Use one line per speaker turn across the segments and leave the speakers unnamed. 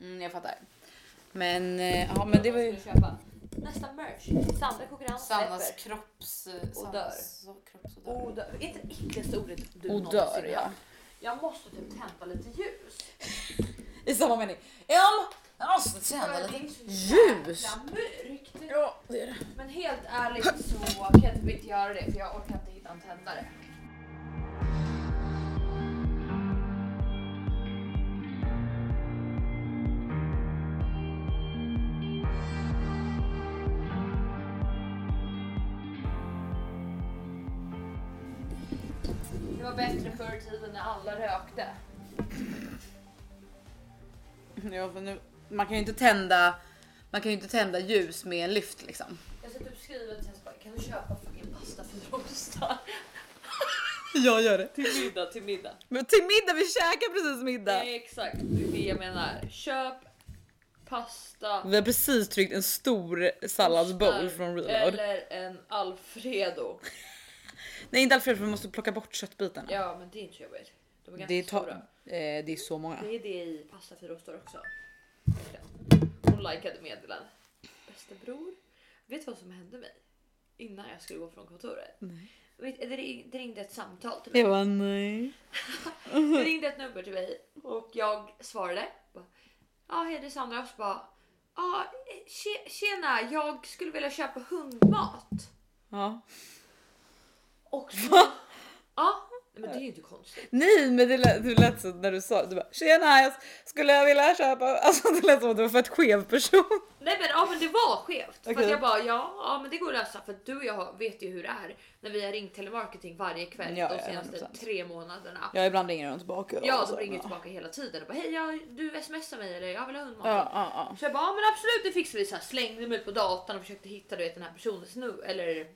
Mm, jag fattar. Men, eh, ja men det var ju
Ska vi köpa Nästa merch. Sandra konkurrens
Sannas
släpper.
kropps...
dör.
Sannas kropps och dör.
Odör. Oh, Inte äckligaste ordet du
Och
någonsin
Oh, dör
hört.
ja.
Jag måste typ tända lite ljus.
I samma mening. Ja, men jag måste
För
tända
det
lite.
är så
ljus.
jävla mörkt.
Ja, det är det.
Men helt ärligt så kan jag typ inte göra det för jag orkar inte hitta en tändare. Det var bättre förr i tiden när alla rökte.
Ja, för nu, man kan ju inte tända man kan ju inte tända ljus med en lyft liksom.
Jag ska typ skriva till Tess bara, kan du köpa fucking pasta för rostar?
Jag gör det.
Till middag, till middag.
Men till middag, vi käkar precis middag.
Nej, Eh, exakt. Det är det jag menar. Köp pasta.
Vi har precis tryckt en stor salladsbowl från Reload.
Eller en Alfredo.
Nej inte Alfred för vi måste plocka bort köttbitarna.
Ja, men det är inte så jobbigt. De är ganska
det, är ta-
stora.
eh, det är så många.
Det är det i pasta för rostar också. Hon likade meddelandet. Bästa bror, vet du vad som hände mig? Innan jag skulle gå från kontoret.
Nej.
Vet- Det ring- det ringde ett samtal till mig.
Jag bara nej.
Det ringde ett nummer till mig och jag svarade. Ja, ah, hej det är Sandra. Och så bara, ah, tje- tjena, jag skulle vilja köpa hundmat.
Ja.
Och så, ja, ah, men det är ju inte konstigt.
Nej men det lät, det lät så när du sa du bara tjena jag skulle jag vilja köpa. Alltså det lät som att du var för ett skev person.
Nej men, ja, men det var skevt. För
Okej.
att jag bara, ja, ja men det går att lösa för att du och jag har- vet ju hur det är när vi har ringt telemarketing varje kväll
Ja,
de
ja,
senaste
100%.
tre månaderna.
Ja ibland ringer de tillbaka. och
alltså, Ja,
så,
de ringer
men,
tillbaka hela tiden och bara hej, jag, du smsar mig eller jag vill ha hundmat.
Ja, ja, ja.
Så jag bara, ja, men absolut det fixar vi. Så här, slängde mig ut på datan och försökte hitta du vet, den här personens nu eller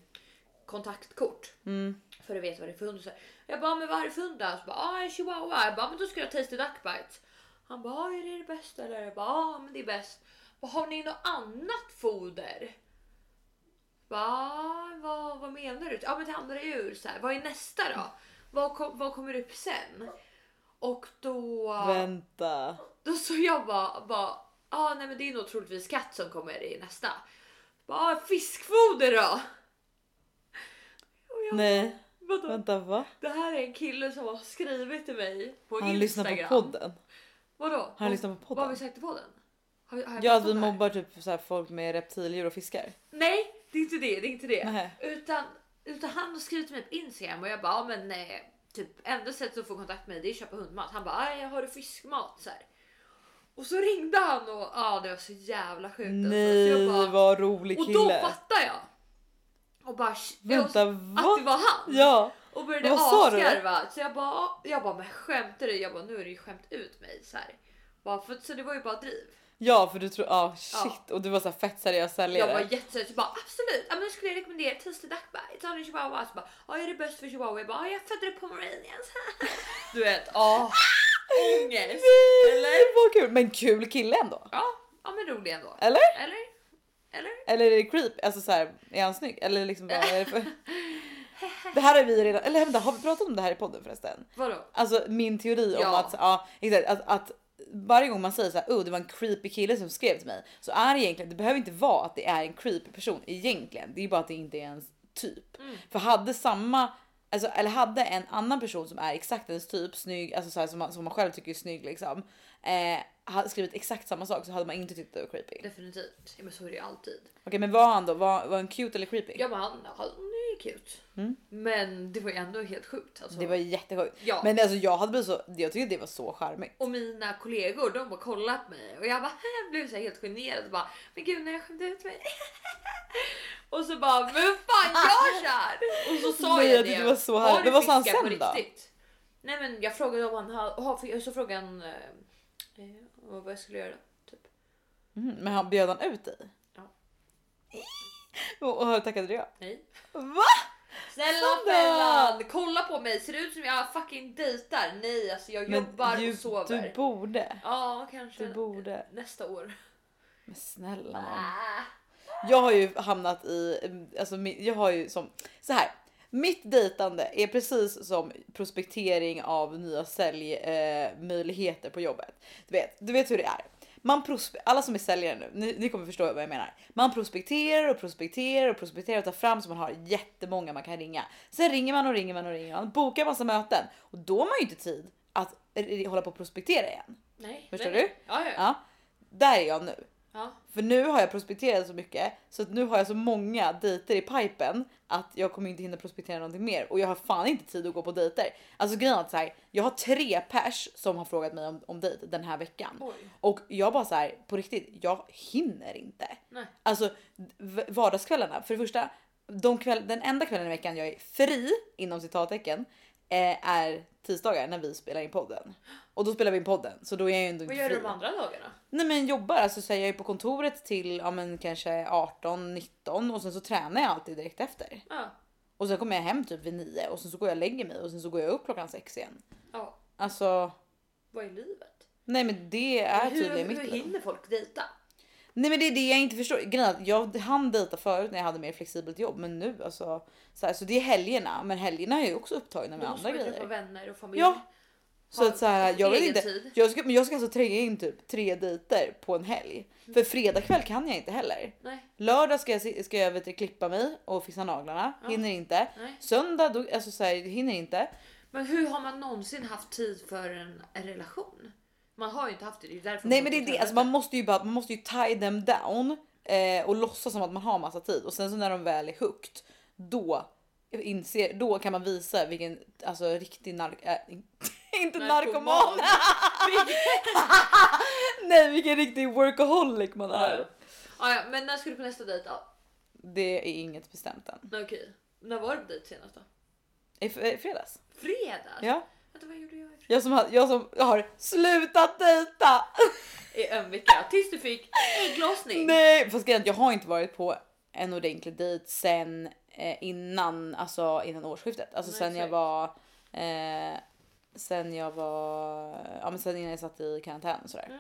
kontaktkort.
Mm,
För att veta vad det är för hund. Så här, jag bara, men vad är det för hund då? Så bara, ah, en chihuahua. Jag bara, men då ska jag ha tasty duck bites. Han bara, ah, är det det bästa eller? Jag bara, ah, men det är bäst. Vad har ni något annat foder? Jag bara, ah, vad, vad menar du? Ja, men till andra djur. Så här, vad är nästa då? Vad, kom, vad kommer upp sen? Och då...
Vänta.
Då så jag bara, bara ah, nej men det är nog troligtvis katt som kommer i nästa. Bara, ah, fiskfoder då? Och jag,
Nej
vadå?
vänta va?
Det här är en kille som har skrivit till mig på
Han
Instagram.
lyssnar på podden.
Vadå?
Han lyssnar på
Vad har
podden.
vi sagt i podden? Har, vi- har jag
Ja att
pratat
vi
om det här?
mobbar typ så här folk med reptildjur och fiskar.
Nej, det är inte det. Det är inte det.
Nej.
Utan, utan han har skrivit till mig på Instagram och jag bara, ah, men eh, typ enda sättet att få kontakt med dig det är att köpa hundmat. Han bara, "Aj, har du fiskmat? Så här. Och så ringde han och ah, det var så jävla sjukt. alltså. så
Nej
jag bara,
vad rolig
och
kille.
då fattar jag. Och bara, "Sh- det var-
Vänta
att det
va?
var han.
Ja.
Och började
Vad sa du då?
asgarva. Så jag bara, jag bara, men skämtar du? Jag bara, nu är det ju skämt ut mig så här. Bara, för, så det var ju bara driv.
Ja för du tror, ja shit och du var så här fett seriös
Jag
säljare.
var jättesöt så bara absolut, ja, men då skulle jag rekommendera Tasty Duck Bites. Har ni chihuahua? Så bara, ja är det bäst för chihuahua? Jag bara, ja, jag födde det på Moranians. Du vet, ja. Ångest.
Eller? Vad kul. Men kul kille ändå.
Ja, ja men rolig ändå.
Eller?
Eller? Eller?
Eller är det creep? Alltså så här, är han snygg? Eller liksom vad är det för... Det här har vi redan, eller vänta har vi pratat om det här i podden förresten?
Vadå?
Alltså min teori om
Ja.
att, ja exakt att, att varje gång man säger så här, oh det var en creepy kille som skrev till mig så är det egentligen, det behöver inte vara att det är en creepy person egentligen. Det är bara att det inte är ens typ. För hade samma, alltså, eller hade en annan person som är exakt ens typ, snygg, alltså så här, som, man, som man själv tycker är snygg liksom, eh, hade skrivit exakt samma sak så hade man inte tyckt det var creepy.
Definitivt. Ja, men så är det ju alltid.
Okej men var han då, var, var han cute eller creepy?
Ja men han, han är cute. Men det var ju ändå helt sjukt. Alltså.
Mm. Det var jättesjukt.
Ja.
Men alltså jag hade blivit så, jag tyckte det var så charmigt.
Och mina kollegor de bara kollat på mig och jag bara jag blev så här helt generad och bara men gud när jag skämde ut mig. Och så bara men fan gör så här? Och så sa
Nej,
jag,
jag
det.
tyckte det var så
Har
här-
du
Men vad sa han
fiskar på
sen då?
riktigt? Nej men jag frågade om han har, så frågade han eh, eh, vad jag skulle göra. Typ.
Mm, men han bjöd han ut dig?
Ja.
Och, och tackade du ja?
Nej.
Va?
Snälla
Sandra!
Fellan kolla på mig ser det ut som jag fucking dejtar? Nej alltså jag jobbar
du,
och sover.
du borde.
ja kanske
Du borde.
nästa år.
Men snälla nån.
Ah.
Jag har ju hamnat i, alltså mi- jag har ju som, så här. Mitt dejtande är precis som prospektering av nya säljmöjligheter eh, möjligheter på jobbet. Du vet, du vet hur det är. Man prospe- alla som är säljare nu, ni, ni kommer förstå vad jag menar. Man prospekterar och prospekterar och prospekterar och tar fram så man har jättemånga man kan ringa. Sen ringer man och ringer man och ringer man, bokar massa möten och då har man ju inte tid att r- hålla på och prospektera igen.
Nej.
Förstår
nej.
du?
Ja, ja. ja.
Ja, där är jag nu.
ja.
För nu har jag prospekterat så mycket så att nu har jag så många dejter i pipen att jag kommer inte hinna prospektera någonting mer och jag har fan inte tid att gå på dejter. Alltså grejen är att så här, jag har tre pers som har frågat mig om, om dejt den här veckan
Oj.
och jag bara så här på riktigt. Jag hinner inte.
Nej.
Alltså v- vardagskvällarna för det första. De kväll, den enda kvällen i veckan jag är fri inom citattecken eh, är tisdagar när vi spelar in podden och då spelar vi in podden så då är jag ju ändå
Vad
inte
gör du
fri.
de andra dagarna?
Nej men jobbar, alltså så här, jag är på kontoret till ja, men kanske 18, 19 och sen så tränar jag alltid direkt efter.
Ja.
Och sen kommer jag hem typ vid 9 och sen så går jag och lägger mig och sen så går jag upp klockan 6 igen.
ja.
Alltså, vad
Vad är livet?
nej men det är
hur
tydligen mitt
hur
liv.
hinner folk dejta?
Nej men det är det jag inte förstår. Grejen är att jag hann dejta förut när jag hade mer flexibelt jobb men nu alltså. Så, här, så det är helgerna men helgerna är ju också upptagna med
Då måste
andra
man ju träffa
grejer.
vänner och familj.
Ja. Så
Ha
att så här, jag vill
egen
inte.
tid.
Jag ska, men jag ska alltså tränga in typ tre dejter på en helg. För fredag kväll kan jag inte heller.
Nej.
Lördag ska jag, se- ska jag vet, du, klippa mig och fixa naglarna.
Ja.
Hinner inte.
Nej.
Söndag, då, alltså så här, hinner inte.
Men hur har man någonsin haft tid för en, en relation? Man har ju inte haft det. det är därför
Nej
man
men det är
går
det,
till
alltså, man måste ju bara, man måste ju tie them down eh, och låtsas som att man har massa tid och sen så när de väl är hooked då inser, då kan man visa vilken alltså riktig nark... Äh, inte narkoman! Nej vilken riktig workaholic man är.
ja, ja, men när ska du på nästa dejt? Ja,
Det är inget bestämt än.
Okej, när var du på dejt senast då?
I f- i fredags.
Fredags?
Ja.
Vänta, vad gjorde jag i fredags?
Jag som, har, jag som har slutat dejta!
I en vecka tills du fick ägglossning.
Nej, fast grejen är att jag har inte varit på en ordentlig dejt sen eh, innan, alltså innan årsskiftet. Alltså
Nej,
sen jag
exakt.
var, eh, sen jag var, ja men sen innan jag satt i karantän och sådär.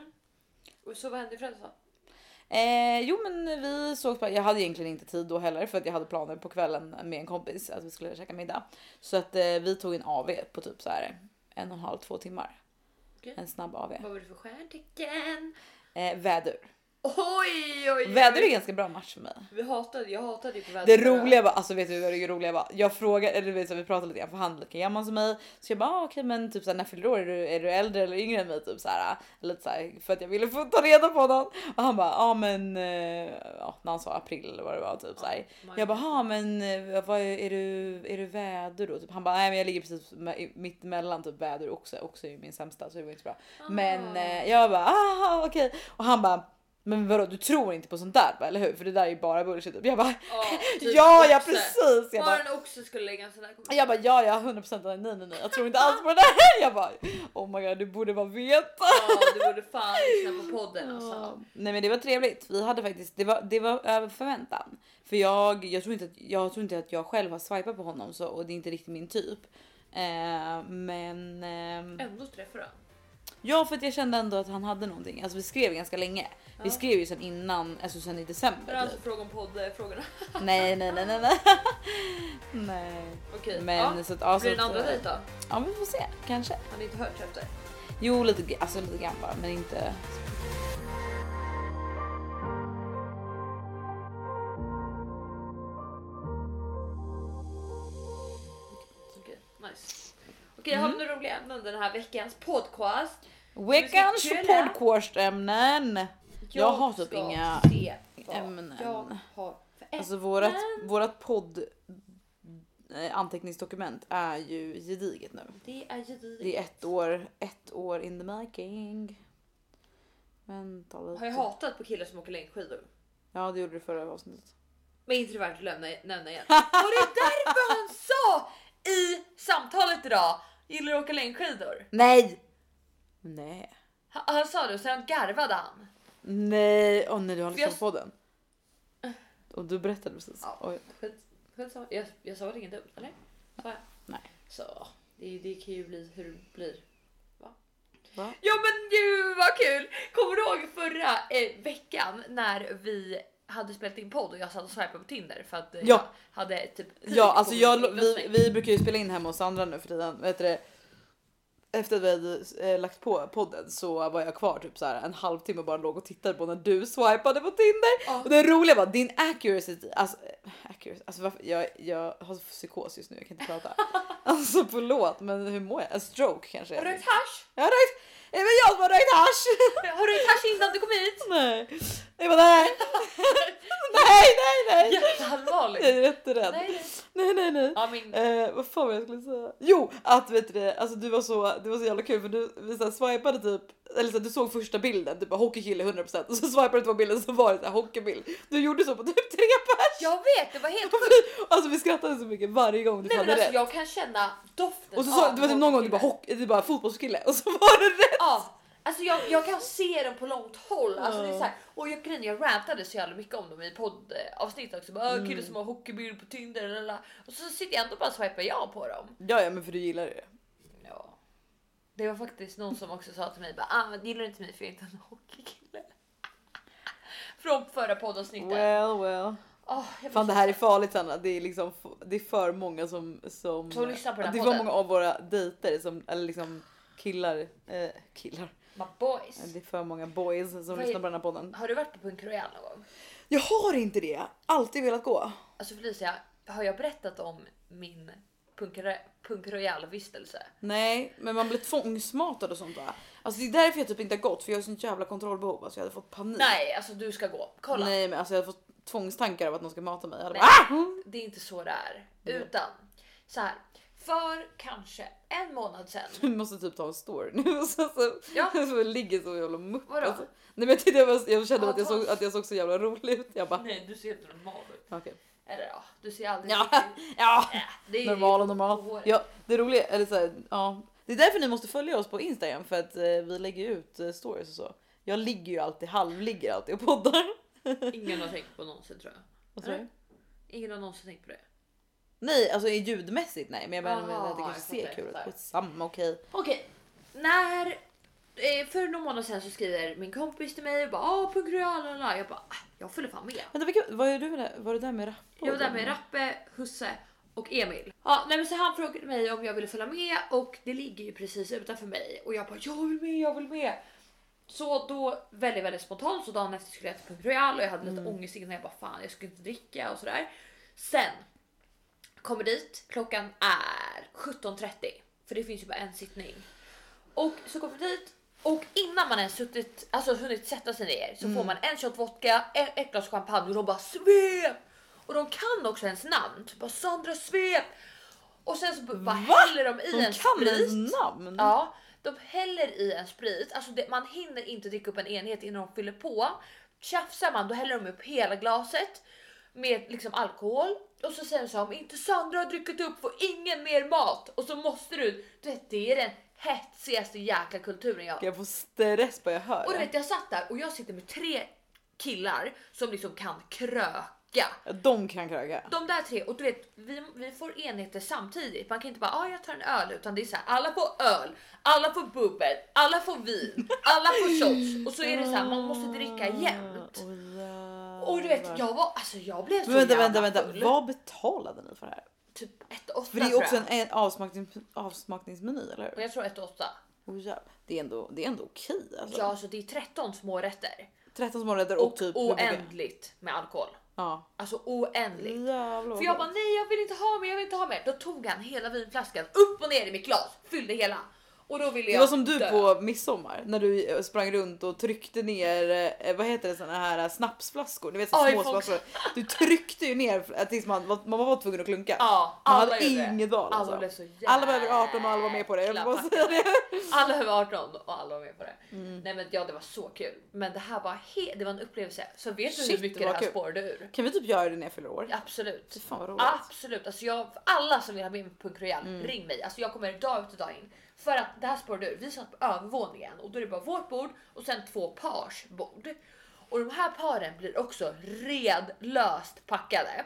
Och så vad hände i fredags då?
Eh, jo men vi sågs på, jag hade egentligen inte tid då heller för att jag hade planer på kvällen med en kompis att vi skulle käka middag. Så att eh, vi tog en AV på typ så här en och en halv, två timmar.
Okej.
En snabb AV.
Vad var det för stjärntecken?
Eh, vädur.
Oj, oj, oj.
Vädur är en ganska bra match för mig.
Vi hatade, jag hatade ju på vädret.
Det roliga var, alltså vet du vad det roliga var? Jag frågade, eller du vet, så vi pratade lite grann för han är lika gammal som mig. Så jag bara ah, okej men typ såhär när fyller du år? Är du, är du äldre eller yngre än mig? Typ såhär. Lite såhär för att jag ville få ta reda på något. Och han bara ja ah, men eh, ja, när han sa april eller vad det var typ såhär.
Man-
Jag bara ja men eh, vad är, är du, är du väder då? Typ, han bara nej men jag ligger precis me- i- mitt mellan typ väder och oxe. Oxe är ju min sämsta så det var inte så bra.
Ah.
Men eh, jag bara ah okej och han bara men vadå du tror inte på sånt där va, eller hur? För det där är ju bara bullshit. Typ. Jag bara
Ja, typ
Ja, ja
oxe.
precis! Jag bara,
Bara en oxe skulle lägga en sån där kommentar.
jag bara ja, ja 100% nej, nej, nej, jag tror inte
Ah.
alls på det där. Jag bara oh my god, du borde bara veta.
Ja, du borde fan lyssna på podden alltså.
Nej men det var trevligt. Vi hade faktiskt, det var, det var över förväntan. För jag, jag, tror inte att, jag tror inte att jag själv har swipat på honom så, och det är inte riktigt min typ. Eh, men eh,
Ändå träffar du honom.
ja, för att jag kände ändå att han hade någonting. Alltså vi skrev ganska länge. Vi
Ja.
skrev ju sen innan, alltså sen i
För
december.
alltså
typ.
fråga om poddfrågorna.
Nej, nej, nej, nej, nej. nej.
Okej,
Men
ja.
så att ja,
blir
så
det en
att,
andra
eh,
dejt då?
Ja, vi får se kanske.
Han har inte hört efter.
Jo, lite, alltså, lite grann bara, men inte.
Okej, nice. Okej,
Mm.
har vi några roliga ämnen den här veckans podcast?
Veckans
kul, ja.
poddkursämnen. Jag har typ
ska
inga
se vad
ämnen.
Jag har för ämnen.
Alltså vårat, vårat podd eh, anteckningsdokument är ju gediget nu.
det är ju
Det är ett år, ett år in the making. Vänta lite.
Har jag hatat på killar som åker längdskidor?
Ja, det gjorde du förra avsnittet.
Men inte det värt att lämna, nämna igen. Var det därför han sa i samtalet idag? Gillar du att åka längdskidor?
Nej! Nej.
Han, han sa det och sen garvade han.
Nej, åh nej du har
För jag- Eh.
lyssnat på podden. Och du berättade precis.
Ja.
Oj.
Skit- skitsamma. Jag, jag sa väl inget dumt eller? Sa jag?
Nej.
Så det, det kan ju bli hur det blir.
Va?
Ja men gud vad kul! Kommer du ihåg förra eh, veckan när vi hade spelat in podd och jag satt och swipade på Tinder för att eh,
Ja.
jag hade typ
Ja, alltså
på
jag,
min
vi,
inloggning.
vi brukar ju spela in hemma hos Sandra nu för tiden. Vet du det? efter att vi hade eh, lagt på podden så var jag kvar typ så här en halvtimme och bara låg och tittade på när du swipade på Tinder.
Ja.
Och det roliga var din accuracy, alltså, eh, accuracy, alltså varför, jag, jag har psykos just nu, jag kan inte prata. alltså förlåt men hur mår jag? En stroke kanske?
Har du rökt hasch?
Jag har rökt, det var jag som har rökt hasch!
Har du rökt hasch innan du kom hit?
nej. Jag bara nej. nej, nej, nej. Jag
Jätteallvarligt.
är jätterädd.
Nej, nej.
nej, nej. nej.
Ja, min...
Eh, vad fan var jag skulle säga? Jo, att vet du det, alltså du var så, det var så jävla kul för du vi så här, swipade typ, eller så här, du såg första bilden, typ bara hockeykille 100% och så swipade du på bilden så var det så här, hockeybild. Du gjorde så på typ tre pers!
Jag vet, det var helt
Och vi- Alltså vi skrattade så mycket varje gång du
Nej men
hade
alltså
rätt.
jag kan känna doften
Och så sa,
av
det var typ någon gång du bara,
hockeyfilmer.
hockey, du bara fotbollskille och så var det rätt!
Ja, alltså jag, jag kan se dem på långt håll. Alltså det är
Ja.
så här, och jag, grejen, jag rantade så jävla mycket om dem i poddavsnitt också. Bara, mm. Kille som har hockeybild på Tinder. Lalala. Och så sitter jag ändå bara och swipar ja på dem.
Ja, ja men för du gillar det.
Ja. Det var faktiskt någon som också sa till mig bara, ah, men gillar du inte mig för jag är inte en hockeykille. Från förra poddavsnittet.
Well well.
Åh, jag
Fan det
blir
här är farligt Sanna, det är liksom f- det är för många som som,
Som lyssnar på den här
det är för
podden.
många av våra dejter som eller liksom killar eh, killar.
så- My boys.
Eh, Det är för många boys som
Vad är-
lyssnar på den här podden.
Har du varit på Punk Royal någon gång?
Jag har inte det. Alltid velat gå.
Alltså Felicia, har jag berättat om min Punk Roy- Punk Royal
Mm.
vistelse?
Nej, men man blir tvångsmatad och sånt där. Alltså det är därför jag typ inte har gått för jag har sånt jävla kontrollbehov. Alltså jag hade fått panik.
Nej, alltså du ska gå. Kolla,
Nej men alltså jag hade fått tvångstankar av att någon ska mata mig. Jag hade
Nej.
bara, ah!
det är inte så det är. Utan så här, för kanske en månad sedan.
Du måste typ ta en story nu. Och så, så,
Ja.
så ligger så jävla mupp.
Vadå?
Alltså. Nej men jag, tyckte jag, var, jag kände
Ja,
att, jag
ta-
såg, att jag såg så jävla rolig ut. Jag bara
Nej, du ser helt normal ut.
okej.
Eller ja, du ser aldrig
Ja.
riktigt-
Ja.
Äh, det är
Normal och
på
normal.
håret.
Ja, det roliga eller så här, ja. Det är därför ni måste följa oss på Instagram för att eh, vi lägger ut eh, stories och så. Jag ligger ju alltid halvligger alltid och poddar.
Ingen har tänkt på någonsin tror jag.
Vad sa du?
Ingen har någonsin tänkt på det.
Nej, alltså i ljudmässigt nej, men jag menar
Aha,
med att det kanske
jag
ser
fattar,
kul
jag
ut.
fattar.
Skitsamma okej.
Okej, när eh, för någon månad sedan så skriver min kompis till mig och bara ah Punk Royal. lalala." Jag bara ah, jag följer fan med.
Vänta, vilka, vad är du med det? Var det där med rapp?
Jag var där med Rappe, Husse och Emil. Ja, nej men så han frågade mig om jag ville följa med och det ligger ju precis utanför mig och jag bara jag vill med, jag vill med. Så då väldigt, väldigt spontant så dagen efter skulle jag till Punk Royal och jag hade lite ångest innan jag bara fan jag skulle inte dricka och sådär. Sen kommer dit, klockan är 17.30 för det finns ju bara en sittning. Och så kommer vi dit och innan man ens suttit, alltså hunnit sätta sig ner så
Mm.
får man en shot vodka, e- ett glas champagne och de bara svep! Och de kan också ens namn, typ bara Sandra svep! Och sen så b- bara häller de i
De
en
kan
sprit.
ens namn.
Ja, de häller i en sprit, alltså det, man hinner inte dricka upp en enhet innan de fyller på. Tjafsar man då häller de upp hela glaset med liksom alkohol och så säger de så här, om inte Sandra har druckit upp får ingen mer mat och så måste du, du vet, det är den hetsigaste jäkla kulturen jag
Jag får stress bara jag hör
och du
det.
vet jag satt där och jag sitter med tre killar som liksom kan kröka.
Ja, De kan kröka.
De där tre och du vet vi, vi får enheter samtidigt. Man kan inte bara ah, jag tar en öl utan det är så här alla får öl, alla får bubbel, alla får vin, alla får shots och så är det så här man måste dricka
Ah,
jämt.
Oh,
Och du vet jag var alltså jag blev så
Men vänta, vänta,
jävla
vänta.
full.
Vad betalade ni för det här?
Typ 1 8
För det är också en, en avsmakning, avsmakningsmeny, eller hur?
Jag tror 1 8.
Oh, jävlar. det är ändå, det är ändå okej alltså.
Ja alltså det är 13 små rätter
13 smårätter och,
och
typ...
oändligt med alkohol.
Ja.
Alltså oändligt.
Jävlar vad
För jag
gott.
bara nej jag vill inte ha mer, jag vill inte ha mer. Då tog han hela vinflaskan upp och ner i mitt glas, fyllde hela. Och då ville jag
Det var som du
dö.
på midsommar när du eh, sprang runt och tryckte ner, eh, vad heter det, såna här eh, snapsflaskor. Ni vet så
Ja, i
små
folk-
flaskor. Du tryckte ju ner f- tills man, var- man var tvungen att klunka.
Ja,
man
alla
hade
gjorde det.
inget val
Alla
alltså.
blev så jävla
Alla var över 18 och alla var med på det. Jag vill bara säga det.
Alla över 18 och alla var med på det.
Mm.
Nej men ja det var så kul. Men det här var, he- det var en upplevelse. Så vet du
Shit,
hur mycket
det
det,
var
här
kul.
spårade ur?
Kan vi typ göra det när jag fyller år?
Absolut.
Fy fan vad roligt. Mm.
Absolut. Alltså jag, alla som vill ha med mig på Punk Royal, ring mig. Alltså jag kommer dag ut och dag in. För att det här spårade ur. Vi satt på övervåningen och då är det bara vårt bord och sen två pars bord. Och de här paren blir också redlöst packade.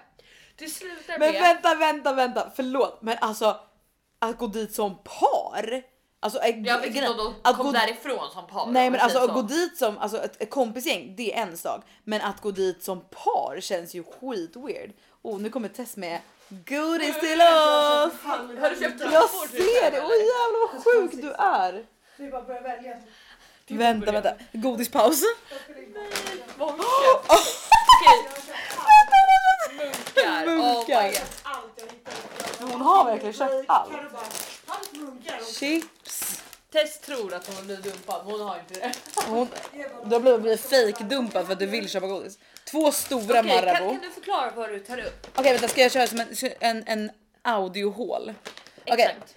Det slutar
Men
med...
vänta, vänta, vänta. Förlåt, men alltså att gå dit som par. Alltså, äh,
Jag vet inte
grejen-
om de
att
kom
gå-
därifrån som par.
Nej men alltså att gå
god...
dit som alltså ett, ett kompisgäng, det är en sak. Men att gå dit som par känns ju skit weird. Oh, nu kommer Tess med godis till oss.
Har du köpt
Jag ser det! Oj jävlar vad sjuk du är!
Typ
Det är bara att börja välja.
Vänta, vänta. Godispaus.
Vad har vi köpt?
Jag
Okej,
har köpt
munkar. Oh my
Munkar.
god.
allt jag hittar.
Hon har verkligen köpt allt.
Kan du bara, allt munkar. och-
Chips.
Tess tror att hon blir dumpad men hon har inte det.
Hon,
det är bara-
du har blivit- blivit fejkdumpad för att du vill köpa godis. Två stora
Okej, kan,
Marabou.
kan
Okej
du förklara vad du tar upp?
vänta ska jag köra som en, en, en audiohål? Okej.
Exakt.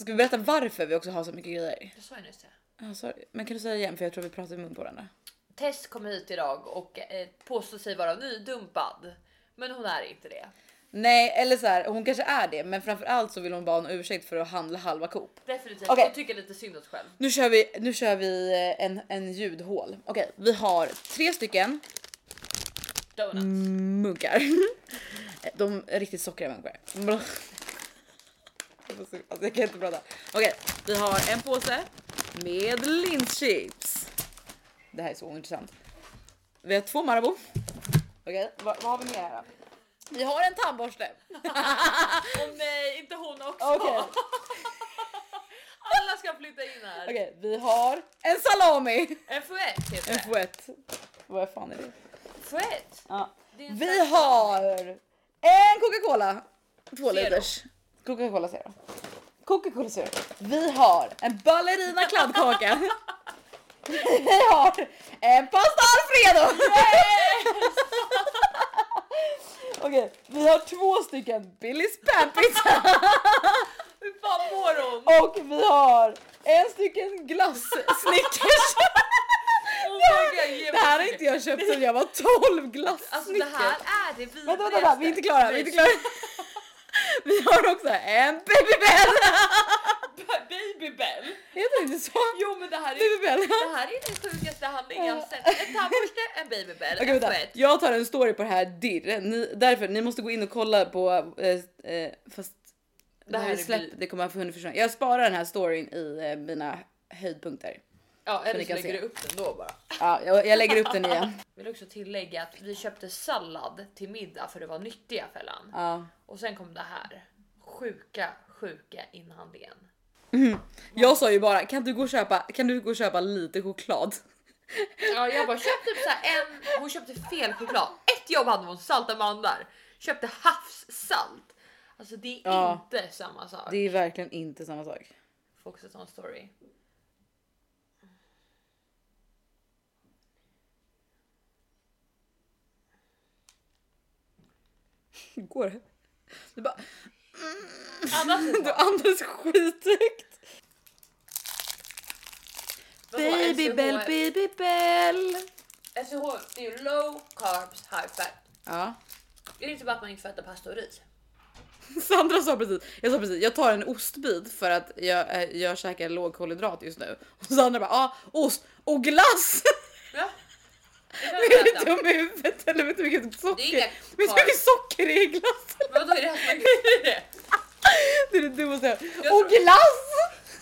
Ska vi berätta varför vi också har så mycket grejer?
Jag sa ju nyss det.
Ah, sorry. Men kan du säga igen för jag tror vi pratar i mun på varandra.
Tess kom hit idag och eh, påstår sig vara nydumpad. Men hon är inte det.
Nej eller så här, hon kanske är det men framförallt så vill hon bara ha en ursäkt för att handla halva Coop.
Definitivt.
Okej.
Hon tycker lite synd om sig själv.
Nu kör vi, nu kör vi eh, en, en ljudhål. Okej vi har tre stycken
Donuts.
Mm. munkar. De är riktigt sockriga munkar. Bra. Alltså, jag kan inte prata. Okej, vi har en påse med linschips. Det här är så ointressant. Vi har två Marabou. Okej, vad, vad har vi mer här då? Vi har en tandborste.
Åh nej, inte hon också.
Okej,
Alla ska flytta in här.
okej, vi har en salami.
En fouette heter
En
det.
fouett. Vad fan är det?
Fouette?
Ja.
Det är en
Vi
slags-
har en Coca-Cola. Två
Zero.
liters. Coca-Cola Zero. Coca-Cola Zero. Vi har en ballerina kladdkaka. Vi har en pasta alfredo. Okej, vi har två stycken Billys panpizza
Hur fan mår hon? Oh
och vi har en stycken glass Snickers.
Oh my God, ge mig
Det här har
mycket.
inte jag köpt sedan jag var 12 glass
Alltså det
Snickers.
här är det vidrigaste.
Vänta, vänta, vänta, vi är inte klara, vi är inte klara. Vi har också en babybell!
Babybell?
Heter det inte så?
Jo men det här är
Babybell.
det här är den sjukaste handlingen jag har sett. En tandborste, en babybell,
Okej
en
vänta,
fouette.
jag tar en story på det här dirr. Ni, därför, ni måste gå in och kolla på... Eh, eh, fast det
här
här
är
är släpp,
bi-
det kommer jag få hunnit försvinna. Jag sparar den här storyn i eh, mina höjdpunkter.
Ja
ni
eller så
kan
lägger
se.
du upp den då bara.
Ja, jag, jag lägger upp den igen.
Vill också tillägga att vi köpte sallad till middag för det var nyttiga fällan.
Ja.
Och sen kom det här. Sjuka, sjuka inhandlingen.
Jag sa ju bara kan du gå och köpa, kan du gå och köpa lite choklad?
Ja, jag bara köpte typ så här en. Hon köpte fel choklad. Ett jobb hade hon salta mandlar. Köpte havssalt. Alltså det är
Ja.
inte samma sak.
Det är verkligen inte samma sak.
Får också ta en story.
Hur går det? Du bara
Annars är det
Du
bara-
andas skithögt.
Vadå,
Baby
SUH?
bell, baby bell.
SUH det är ju low carbs high fat.
Ja.
Det är inte bara att man inte får äta pasta och ris.
Sandra sa precis, jag sa precis, jag tar en ostbit för att jag, eh, jag käkar lågkolhydrat just nu. Och Sandra bara, ah, ost och glass!
Ja. Det kan
Är
vi
du
äta.
dum i huvudet eller vet du vilket
Det är inga
socker? Vet du hur mycket socker det är i glassen?
Vadå är det här som är
Det är det dummaste jag hört.
Jag
Och
tror-
glass!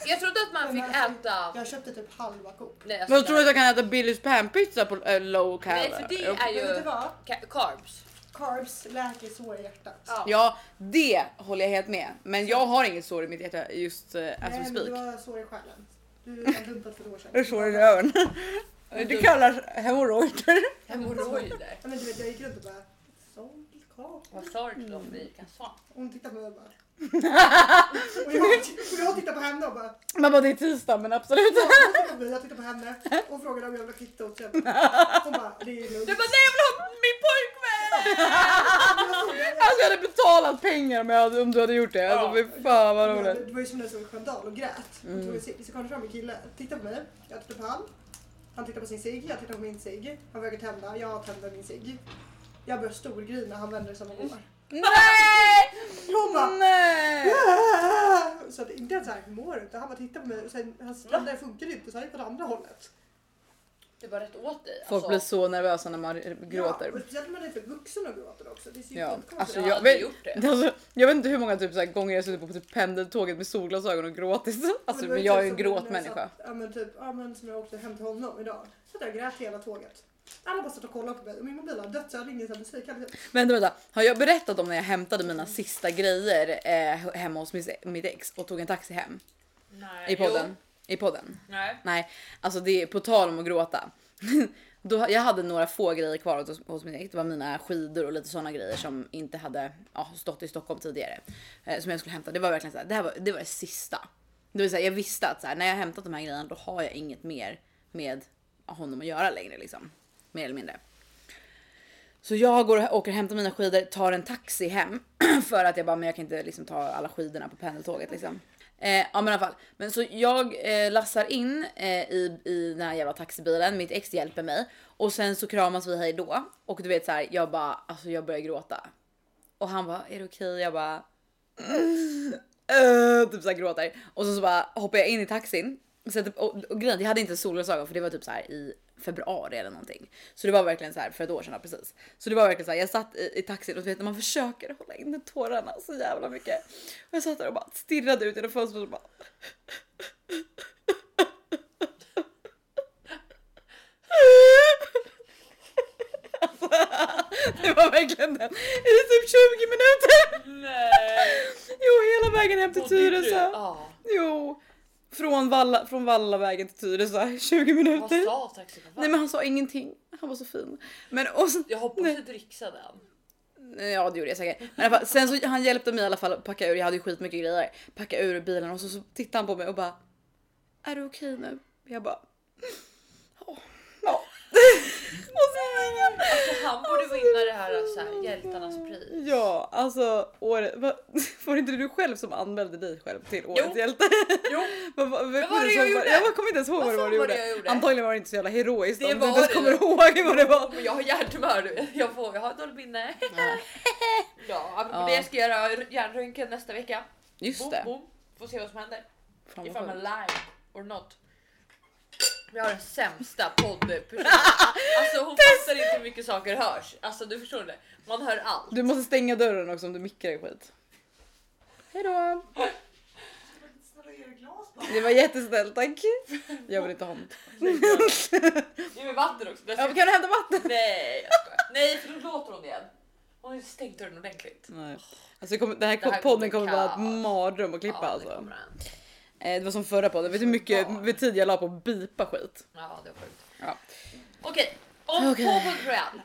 Jag trodde att man fick äta...
Jag köpte typ halva Coop.
Nej, alltså
Men jag tror att
där-
jag kan äta Billys panpizza på eh, low carb.
Nej för det är
Vet du
ju
vad?
ca- carbs.
Carbs läker sår i hjärtat.
Ja.
Ja, det håller jag helt med. Men jag har inget sår i mitt hjärta just uh, as we
Nej, men du
speak.
har sår i själen. Du har dumpat för ett år sedan.
Jag har sår i röven. Det kallas hemorrojder.
Hemorrojder.
Ja, Men du vet, jag gick runt och bara... Såld kaka.
Vad sorgligt om vi kan svara.
Hon tittade på mig och bara... Och jag, och jag tittade på henne och bara...
Man bara det är tisdag men absolut.
Ja, hon tittade på mig, jag tittade på henne. Hon frågade om jag ville ha kvitto. och så jag bara- Hon bara, det är lugnt.
Du bara nej jag vill ha min pojkvän!
Alltså jag hade betalat pengar om, jag hade, om du hade gjort det. Alltså fy fan vad
Men
roligt.
Det var ju som när jag såg Sköndal och grät.
Mm.
Mm. Tog en cigg. så kom det fram en kille, tittade på mig, jag tittade på han. Han tittade på sin cigg, jag tittade på min cigg. Han vägrade tända, jag tände min cigg. Jag började storgrina, han vände sig om och går.
Nej!
Hon bara
Nej!
"Aah!" Så att inte ens så här, hur mår du? Utan han bara tittade på mig och sen hans tänder funkade inte så han gick åt andra hållet.
Det var rätt åt dig. alltså.
Folk blir så nervösa när man gråter.
Ja, och speciellt när man är för vuxen och gråter också. Det ser ju
Ja,
jättekonstigt
alltså
Jag
ut.
har
jag
aldrig
vet,
gjort det.
alltså, jag vet inte hur många typ, så här, gånger jag suttit på typ, pendeltåget med solglasögon och gråtit. Alltså,
det var
men
ju
jag
typ
är ju en
som när jag
gråtmänniska.
satt- Ja men typ, ja men som jag åkte hem till honom idag. Så att jag grät hela tåget. Alla bara satt och kollade på mig och min mobil har dött så jag hade ingen sån här musik. Jag hade-
Vänta, vänta. Har jag berättat om när jag hämtade mina sista grejer eh, hemma hos mis- mitt ex och tog en taxi hem?
Nej.
I podden? I podden?
Eh, Jo, nej.
Nej, alltså det är på tal om att gråta. Då, jag hade några få grejer kvar hos, hos min ex. Det var mina skidor och lite sådana grejer som inte hade ja, stått i Stockholm tidigare. Eh, som jag skulle hämta. Det var verkligen så här, det här var det, var det sista. Det vill säga, jag visste att så här, när jag hämtat de här grejerna då har jag inget mer med honom att göra längre. Liksom. Mer eller mindre. Så jag går och åker och hämtar mina skidor, tar en taxi hem för att jag bara, men jag kan inte liksom ta alla skidorna på pendeltåget liksom. Eh, ja men i alla fall. Men så jag eh, lassar in eh, i, i den här jävla taxibilen, mitt ex hjälper mig och sen så kramas vi hej då och du vet så här, jag bara, alltså jag börjar gråta. Och han bara, är det okej? Jag bara, "Eh", typ såhär gråter. Och så, så bara hoppar jag in i taxin. Så typ, och, och grejen, jag hade inte solglasögon för det var typ så här i februari eller någonting. Så det var verkligen så här för ett år sedan ja, precis. Så det var verkligen så här, jag satt i, i taxin och du vet när man försöker hålla inne tårarna så jävla mycket. Och jag satt där och bara stirrade ut genom fönstret och bara. Alltså, det var verkligen den i typ 20 minuter.
Nej.
Jo, hela vägen hem till
Och det är du.
Tyresö.
Ja.
Jo, från, Valla, från Vallavägen till Tyresö 20
Vad
minuter.
sa taxichauffören?
Nej men han sa ingenting. Han var så fin. Men och sen,
Jag hoppas
Nej.
att du dricksade den.
ja det gjorde jag säkert. Men i alla fall, sen så han hjälpte mig i alla fall att packa ur. Jag hade ju skitmycket grejer. Packa ur bilen och så, så tittade han på mig och bara. Är du okej nu? Jag bara. "Ja." Ja. och så gick jag.
Alltså, han borde vinna det här, så här hjältarnas pris.
Ja, alltså året. va- Var det inte du själv som anmälde dig själv till årets
Jo.
hjälte?
Jo,
Vad var det
var det jag gjorde?
Jag kommer inte ens ihåg vad,
Vad
det
fan
var du
var det
gjorde.
jag gjorde?
Antagligen var det inte så jävla heroiskt
Det
om du
var
inte ens
det.
kommer ihåg vad det var.
men jag har hjärtumör nu. Jag, får, jag har ett dåligt minne. Ja, apropå
Ja.
det jag ska göra hjärnröntgen nästa vecka.
Just
Boom,
det.
boom. Får se vad som händer.
Fan, vad
Ifall man
sjukt.
live or not. Vi har den sämsta poddpersonen. Alltså hon fattar inte hur mycket saker hörs. Alltså du förstår det. Man hör allt.
Du måste stänga dörren också om du mickar i skit. Hejdå!
Snälla ge dig glas bara.
Det var jättesnällt tack. Jag vill inte ha något.
Det är med vatten också. Där
Ja,
ska...
men kan du hämta vatten?
Nej jag skojar. Nej för då låter hon igen. Hon har ju stängt dörren ordentligt.
Nej. Alltså, det kommer, den här,
Det här
podden
kommer
kommer vara
kaos.
ett mardröm att klippa
det
alltså.
kommer Alltså, den.
Eh, Det var som förra podden, vet du hur mycket hur tid jag la på att bipa skit?
Ja det var sjukt.
Ja.
Okej, om
Okej.
okay. Påbund Royal.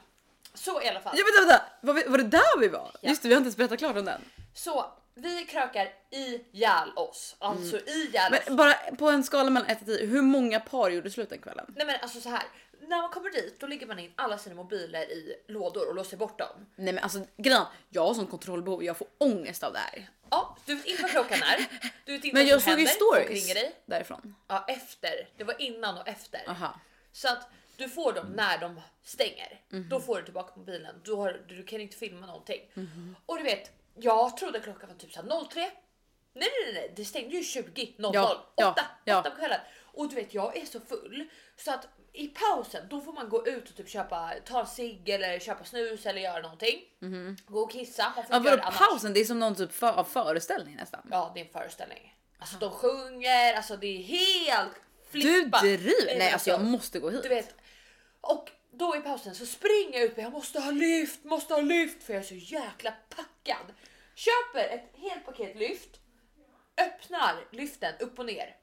Så i alla fall.
Ja vänta vänta! Var, vi, var det där vi var?
Ja.
Just det vi har inte ens berättat klart om den.
Så vi krökar ihjäl oss. Alltså ihjäl oss.
Mm. Men bara på en skala mellan 1 till 10, hur många par gjorde slut den kvällen?
Nej men alltså så här. När man kommer dit då lägger man in alla sina mobiler i lådor och låser bort dem.
Nej men alltså grejen, jag har sån kontrollbehov, jag får ångest av det här.
Ja, du vet inte vad klockan är. Du vet inte
Men
vad
jag
som
såg ju
händer. Folk
stories
ringer dig.
därifrån.
Ja, efter. Det var innan och efter.
Aha.
Så att du får dem
Mm.
när de stänger.
Mm-hmm.
Då får du tillbaka mobilen. Du, har, du kan inte filma någonting.
Mm-hmm.
Och du vet, jag trodde klockan var typ så här 03. Nej, nej, nej, nej, det stängde ju 20.00.
Ja, ja,
8,
ja.
8 på kvällen. Och du vet, jag är så full så att i pausen då får man gå ut och typ köpa, ta en cigg eller köpa snus eller göra någonting. Gå och kissa. Man får
Mm-hmm. Ja,
inte göra
vadå
det annars.
pausen? Det är som någon typ för, av föreställning nästan.
Ja, det är en föreställning. Alltså de sjunger, alltså det är helt
Du
flippat.
driver! Nej alltså jag måste gå hit.
Du vet. Och då i pausen så springer jag ut och jag måste ha lyft, måste ha lyft för jag är så jäkla packad. Köper ett helt paket lyft, öppnar lyften upp och ner.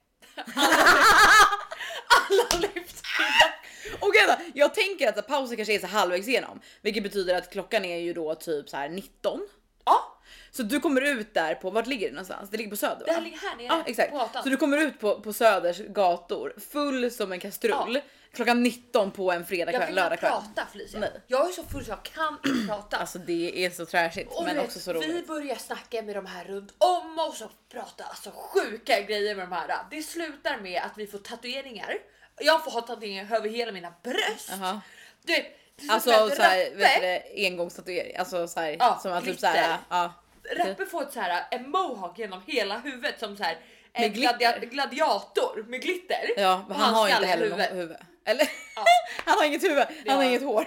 Alla, alla lyft.
Okej då, alltså, jag tänker att pausen kanske är så halvvägs igenom, vilket betyder att klockan är ju då typ så här 19.
Ja,
Så du kommer ut där på, vart ligger det någonstans? Det ligger på söder va?
det här ligger här nere
Ja exakt.
på gatan.
Så du kommer ut på, på söders gator full som en kastrull klockan 19 på en fredag
jag
kväll,
kan inte
lördag kväll.
prata Felicia.
Nej.
Jag är så full så jag kan inte prata.
Alltså det är så trashigt
Och
men
du vet,
också så
vi
roligt.
börjar snacka med de här runt om oss och prata alltså sjuka grejer med de här. Det slutar med att vi får tatueringar. Jag får ha tatueringar över hela mina bröst.
Jaha.
Du vet, det
Alltså
slutar med att
såhär,
Rappe-
vet du det, engångstatuering. Alltså såhär
Ja,
som att typ
glitter.
såhär, ja.
Rappe får ett så här, en mohawk genom hela huvudet som så här, en
Med glitter.
gladia- gladiator med glitter.
Ja,
Och
han, har ju inte
skalle i
heller något huvud. Eller?
Ja.
Han har inget huvud, han har inget hår.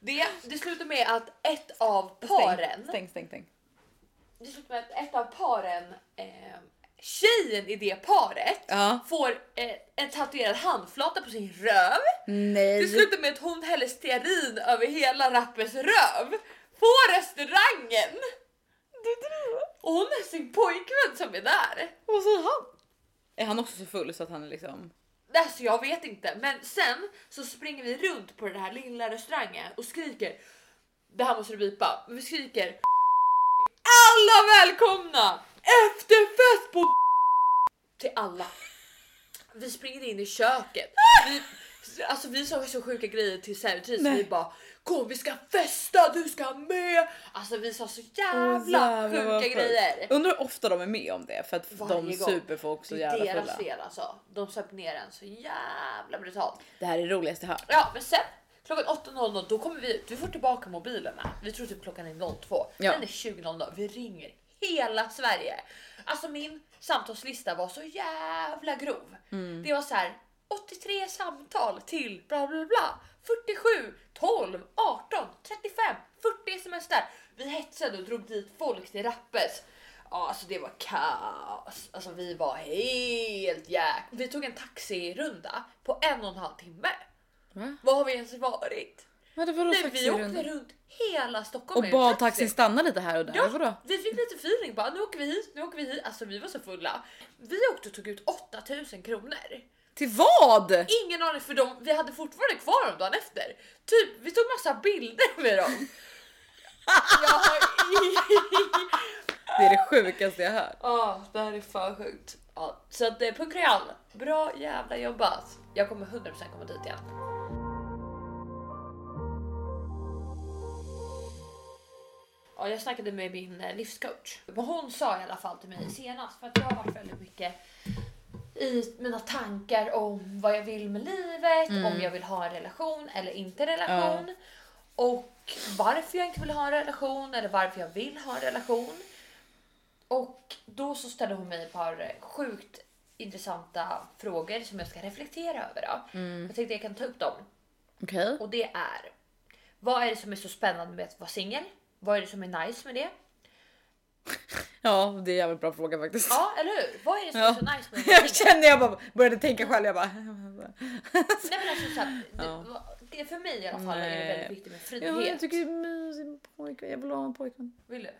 Det, det slutar med att ett av paren,
Stäng, stäng, stäng.
det slutar med att ett av paren, eh, tjejen i det paret
Ja.
får eh, en tatuerad handflata på sin röv.
Nej.
Det slutar med att hon häller stearin över hela rappens röv på restaurangen. Och hon är sin pojkvän som är där.
Vad säger han? Är han också så full så att han är liksom...
Alltså jag vet inte, men sen så springer vi runt på den här lilla restaurangen och skriker. Det här måste du bipa, men vi skriker. Alla välkomna! Efterfest på till alla. Vi springer in i köket. Vi, alltså vi sa så sjuka grejer till servitrisen.
Nej.
Vi bara kom vi ska festa, du ska med. Alltså vi sa så jävla
jävlar, vad
sjuka
sjukt.
grejer.
Undrar hur ofta de är med om det för att de
Varje gång.
super folk så
Det är
jävla
deras
fulla.
fel alltså. De söp ner en så jävla brutalt.
Det här är det roligaste jag hört.
Ja, men sen klockan 8.00 då kommer vi ut. Vi får tillbaka mobilerna. Vi tror typ klockan är 02.
Ja.
Sen är 20.00. Vi ringer hela Sverige. Alltså min samtalslista var så jävla grov. Det var så här 83 samtal till bla bla bla. 47, 12, 18, 35, 40 sms där. Vi hetsade och drog dit folk till rappet. Ja, alltså det var kaos. Alltså vi var helt jäk... Vi tog en taxirunda på en och en halv timme.
Va?
Vad har vi ens varit?
Vadå vadå
Nej, vi åkte
taxirunt?
runt hela Stockholm
Och
med en
bad
taxi.
taxin stanna lite här och där?
Ja.
Vadå?
Vi fick lite feeling bara nu åker vi hit, nu åker vi hit. Alltså vi var så fulla. Vi åkte och tog ut 8000 kronor.
Till vad?
Ingen aning för dem, vi hade fortfarande kvar dem dagen efter. Typ vi tog massa bilder med dem. Jag har i-
Det är det sjukaste jag hört.
Ja, det här är för sjukt. Ja, så att eh, Punk Real, bra jävla jobbat. Jag kommer 100% komma dit igen. Ja, jag snackade med min eh, livscoach. Vad hon sa i alla fall till mig senast, för att jag har varit väldigt mycket i mina tankar om vad jag vill med livet, om jag vill ha en relation eller inte relation. Och varför jag inte vill ha en relation eller varför jag vill ha en relation. Och då så ställde hon mig ett par sjukt intressanta frågor som jag ska reflektera över. Då.
Mm.
Jag tänkte jag kan ta upp dem.
Okej.
Och det är. Vad är det som är så spännande med att vara singel? Vad är det som är nice med det?
Ja, det är en jävligt bra fråga faktiskt.
Ja, eller hur? Vad är det som är
Ja.
så nice med att vara
Jag
singel?
känner jag bara började tänka själv. Jag bara.
Nej, men alltså, så här, det,
Ja.
va- det, för mig i alla fall är det
Nej.
väldigt viktigt med frihet.
Ja, jag tycker det är mysigt med pojkvän. Jag vill ha en pojkvän.
Vill du?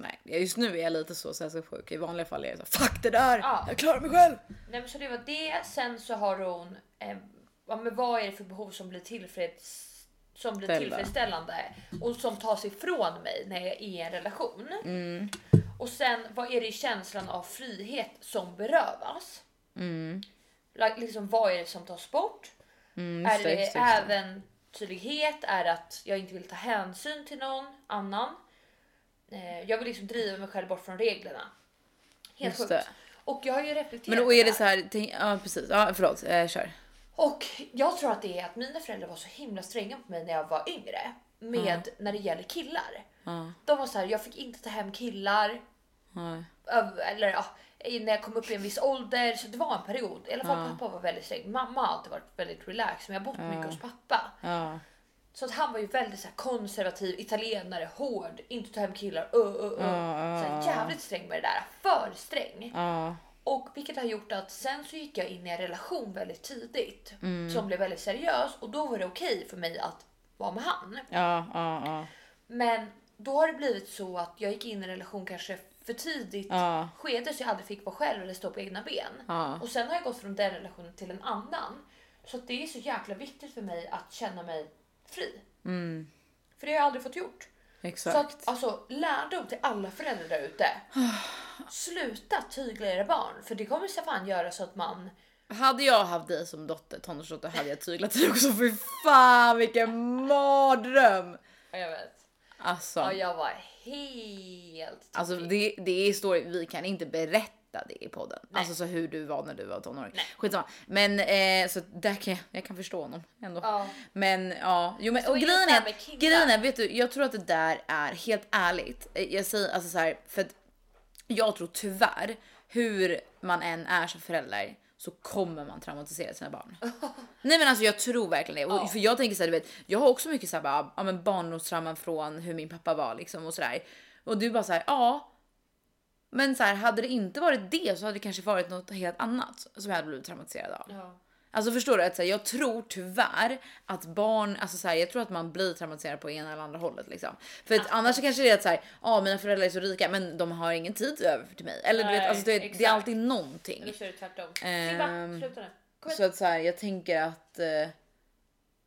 Nej, just nu är jag lite så sällskapssjuk. I vanliga fall är jag så här, fuck det där.
Ja.
Jag klarar mig själv.
Nej men så det var det, sen så har hon... Eh, ja, men vad är det för behov som blir, tillfreds, som blir
Ställa.
tillfredsställande och som tas ifrån mig när jag är i en relation?
Mm.
Och sen vad är det i känslan av frihet som berövas?
Mm.
Like, liksom vad är det som tas bort?
Mm,
är
just
det
just just
äventyrlighet? Är det att jag inte vill ta hänsyn till någon annan? Eh, jag vill liksom driva mig själv bort från reglerna. Helt
Just
sjukt.
det.
Och jag har ju reflekterat
Men då
över
är det så här. Tänk, ja, precis. Ja, förlåt. Eh, kör.
Och jag tror att det är att mina föräldrar var så himla stränga på mig när jag var yngre. Med när det gäller killar.
Ja,
De var så här, jag fick inte ta hem killar.
ja.
ö- Eller ja, när jag kom upp i en viss ålder. Så det var en period. I alla fall
Ja.
pappa var väldigt sträng. Mamma har alltid varit väldigt relaxed. Men jag har bott
Ja.
mycket hos pappa.
ja.
Så att han var ju väldigt så här konservativ, italienare, hård. Inte ta hem killar. ö, ö, ö.
Ja,
Så här,
ja,
jävligt sträng med det där. För sträng.
ja.
Och vilket har gjort att sen så gick jag in i en relation väldigt tidigt
Mm.
som blev väldigt seriös och då var det okej för mig att vara med han.
Ja, ja, ja.
Men då har det blivit så att jag gick in i en relation kanske för tidigt
Ja.
skede så jag aldrig fick vara själv eller stå på egna ben.
Ja.
Och sen har jag gått från den relationen till en annan. Så att det är så jäkla viktigt för mig att känna mig fri.
Mm,
För det har jag aldrig fått gjort. Så
exakt.
att, alltså, lärdom till alla föräldrar där ute. Sluta tygla era barn, för det kommer så fan göra så att man...
Hade jag haft dig som dotter, tonårsdotter, hade jag tyglat dig också. Fy fan vilken mardröm!
Ja, Jag vet.
Alltså,
Ja, jag var helt...
alltså det, det är story, vi kan inte berätta det i podden.
Nej.
Alltså så hur du var när du var tonåring. Skitsamma. Men eh, så där kan jag, jag kan förstå honom ändå.
Ja.
Men ja, jo, men,
Så
och
är det
grejen
där
är,
med
att-
killar.
grejen är, vet du, jag tror att det där är helt ärligt. Eh, Jag säger alltså så här, för att jag tror tyvärr hur man än är som förälder så kommer man traumatisera sina barn. Nej men alltså jag tror verkligen det. Och, För jag tänker så här, du vet, jag har också mycket så här, bara, ja, men barndomstrauman från hur min pappa var liksom och sådär. Och du bara så här, ja. Men så här, hade det inte varit det så hade det kanske varit något helt annat som jag hade blivit traumatiserad av.
Ja.
Alltså förstår du? Att, så här, jag tror tyvärr att barn, alltså så här, jag tror att man blir traumatiserad på ena eller andra hållet liksom. För att annars så kanske det är att så här, ja mina föräldrar är så rika men de har ingen tid över till mig. Eller du vet,
Nej,
alltså, du vet, det är
exakt.
alltid någonting.
Nu kör du tvärtom.
Ehm,
Simba, sluta nu. Kom
Så
igen.
att så här, jag tänker att... eh,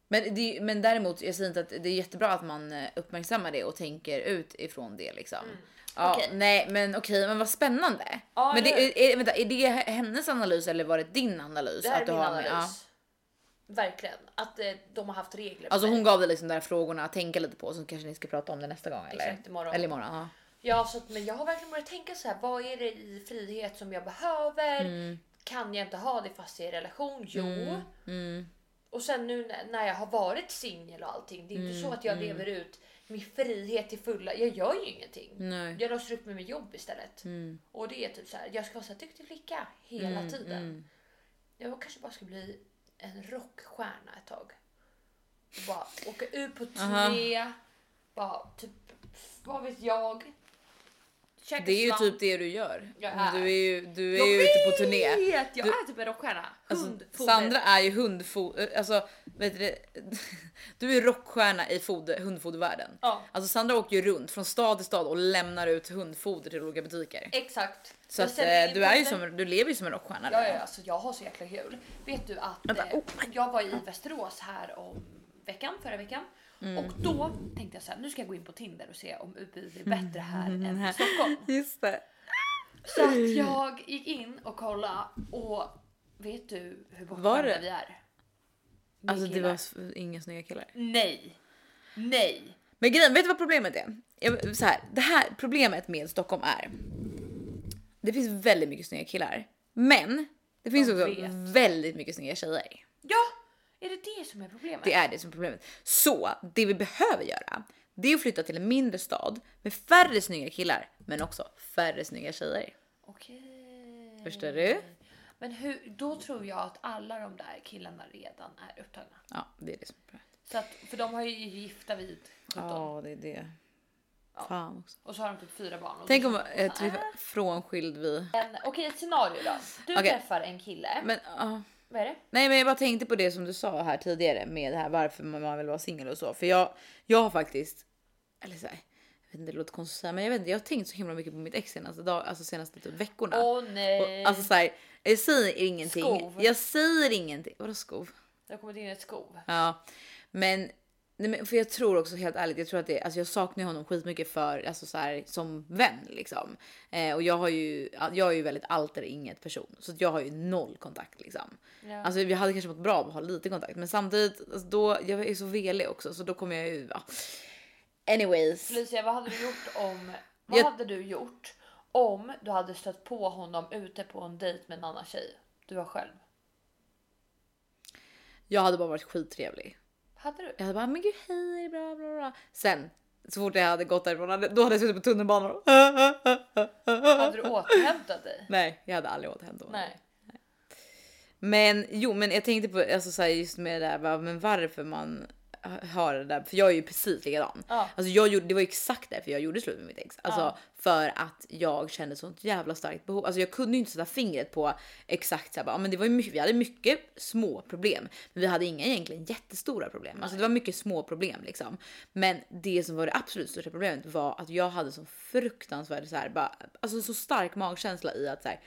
Men, det, är- men däremot, jag säger inte att det är jättebra att man eh, uppmärksammar det och tänker ut ifrån det liksom. Ja,
Mm. Okej.
Nej, men okej, men vad spännande.
Ja,
men
det
det, är, är, vänta, är det hennes analys eller var det din analys?
Det här är
du
min
med-
analys.
ja.
Verkligen. Att eh, de har haft regler. för
Alltså
mig.
hon gav dig liksom de där frågorna att tänka lite på så kanske ni ska prata om det nästa gång eller?
Exakt, imorgon.
Eller imorgon, ja.
Ja, så att, men jag har verkligen börjat tänka så här. Vad är det i frihet som jag behöver? Kan jag inte ha det fast jag är i relation? Jo. Och sen nu när- när jag har varit singel och allting. Det är inte så att jag lever ut min frihet till fulla. Jag gör ju ingenting.
Nej.
Jag låser upp med mitt jobb istället.
Mm.
Och det är typ så här. Jag ska vara så här duktig flicka hela tiden.
mm.
Jag kanske bara ska bli en rockstjärna ett tag. Och bara åka ut på turné. Bara typ, vad vet jag. Käka
Det är ju
svamp.
typ det du gör.
Jag är.
Du är ju, du
Jag
är ju ute på turné.
vet! Jag
Du-
är typ en rockstjärna.
Alltså,
Hundfoder.
Sandra är ju hundfoder, alltså vet du, det? du är rockstjärna i foder, hundfodervärlden.
Ja.
Alltså Sandra åker ju runt från stad till stad och lämnar ut hundfoder till olika butiker.
Exakt.
Så
Jag
att,
säljer
eh,
in
du, är ju
bilder.
som, du lever ju som en rockstjärna.
Ja,
redan.
ja, alltså jag har så jäkla kul. Vet du att
Vänta,
eh, jag var i Västerås här om veckan, förra veckan.
Mm.
Och då tänkte jag så här, nu ska jag gå in på Tinder och se om utbudet är
Mm.
bättre här än i Stockholm.
Just det.
Så att jag gick in och kollade och vet du hur
Var
bortskämda
det?
vi är? Med
Alltså det
killar.
var s- inga snygga killar.
Nej! Nej!
Men grejen, vet du vad problemet är? Jag, så här, det här problemet med Stockholm är. Det finns väldigt mycket snygga killar, men det finns
Jag
också
vet.
väldigt mycket snygga tjejer.
Ja! Är det det som är problemet?
Det är det som är problemet. Så det vi behöver göra, det är att flytta till en mindre stad med färre snygga killar, men också färre snygga tjejer.
Okej.
Förstår du?
Men hur, då tror jag att alla de där killarna redan är upptagna.
Ja, det är det som är problemet.
Så att, för de har ju gifta vid 17
Ja, det är det. Fan också.
och så har de typ fyra barn. Och
Tänk
då-
om eh, typ, frånskild vi.
Men, Okej, ett scenario då. Du
Okej.
träffar en kille.
Men ja.
Vad är det?
Nej men jag bara tänkte på det som du sa här tidigare med det här varför man man vill vara singel och så. För jag, jag har faktiskt, eller så här, jag vet inte, det låter konstigt att säga men jag vet inte, jag har tänkt så himla mycket på mitt ex senaste, dag, alltså senaste typ veckorna.
Åh nej.
och, alltså så här, jag säger ingenting.
Skov.
Jag säger ingenting. Vadå skov?
det har kommit in ett skov.
Ja, men, nej, men för jag tror också helt ärligt, jag tror att det, alltså jag saknar honom skitmycket för, alltså så här, som vän liksom. Eh, och jag har ju, jag är ju väldigt allt eller inget person så att jag har ju noll kontakt liksom.
Ja.
Alltså vi hade kanske mått bra av att ha lite kontakt, men samtidigt alltså, då, jag är så velig också så då kommer jag ju, ja. Anyways.
Felicia, vad hade du gjort om... Vad
Jag-
hade du gjort om du hade stött på honom ute på en dejt med en annan tjej? Du var själv.
Jag hade bara varit skittrevlig.
Hade du?
Jag hade bara, men gud hej, är det bra, bra, bra. Sen så fort jag hade gått därifrån, hade- då hade jag suttit på tunnelbanan och
Hade du återhämtat dig?
Nej, jag hade aldrig återhämtat mig.
Nej.
Men jo, men jag tänkte på alltså, så här, just med det där, bara, men varför man har det där. För jag är ju precis likadan.
Ja.
Alltså jag gjorde, det var ju exakt därför jag gjorde slut med mitt ex. Alltså
Ja.
för att jag kände sånt jävla starkt behov. Alltså jag kunde ju inte sätta fingret på exakt så här, bara, men det var ju mycket, vi hade mycket små problem. Men vi hade inga egentligen jättestora problem. Alltså det var mycket små problem liksom. Men det som var det absolut största problemet var att jag hade sån fruktansvärd så här, bara, alltså så stark magkänsla i att så här,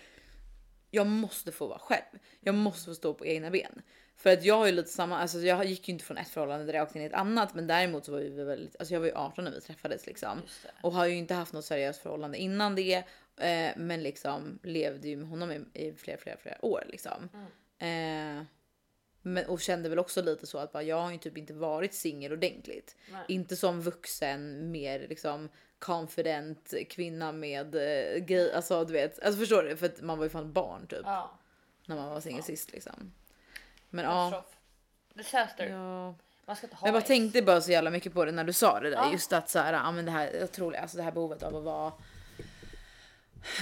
jag måste få vara själv. Jag måste få stå på egna ben. För att jag är ju lite samma, alltså jag gick ju inte från ett förhållande rakt in i ett annat men däremot så var vi väldigt, alltså jag var ju 18 när vi träffades liksom.
Just det.
Och har ju inte haft något seriöst förhållande innan det. Eh, men liksom levde ju med honom i, i flera, flera, flera år liksom. Eh, men, och kände väl också lite så att bara, jag har ju typ inte varit singel ordentligt.
Nej.
Inte som vuxen, mer liksom confident kvinna med eh, grej, alltså du vet. Alltså förstår du? För att man var ju fan barn typ
Ja.
när man var singel sist liksom. Men ja.
Katastrof. Disaster.
ja.
Man ska inte ha
Jag bara
ex.
tänkte bara så jävla mycket på det när du sa det där.
Ja.
Just att så här, ja, men det här otroliga, alltså det här behovet av att vara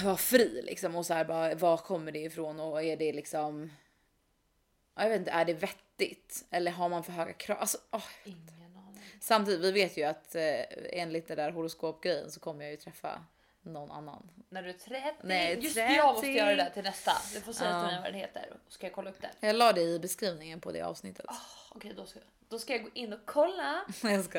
vara fri liksom och så här bara var kommer det ifrån och är det liksom. ja, Jag vet inte, är det vettigt eller har man för höga krav? Alltså, åh.
Ingen aning.
Samtidigt, vi vet ju att eh, enligt det där horoskopgrejen så kommer jag ju träffa någon annan.
När du är 30.
Nej,
Just det, jag måste
30.
göra det där till nästa. Du får säga
Ja.
till mig vad den heter. Ska jag kolla upp den?
Jag la det i beskrivningen på det avsnittet.
Okej, då, ska, då ska jag gå in och kolla.
Nej, jag ska.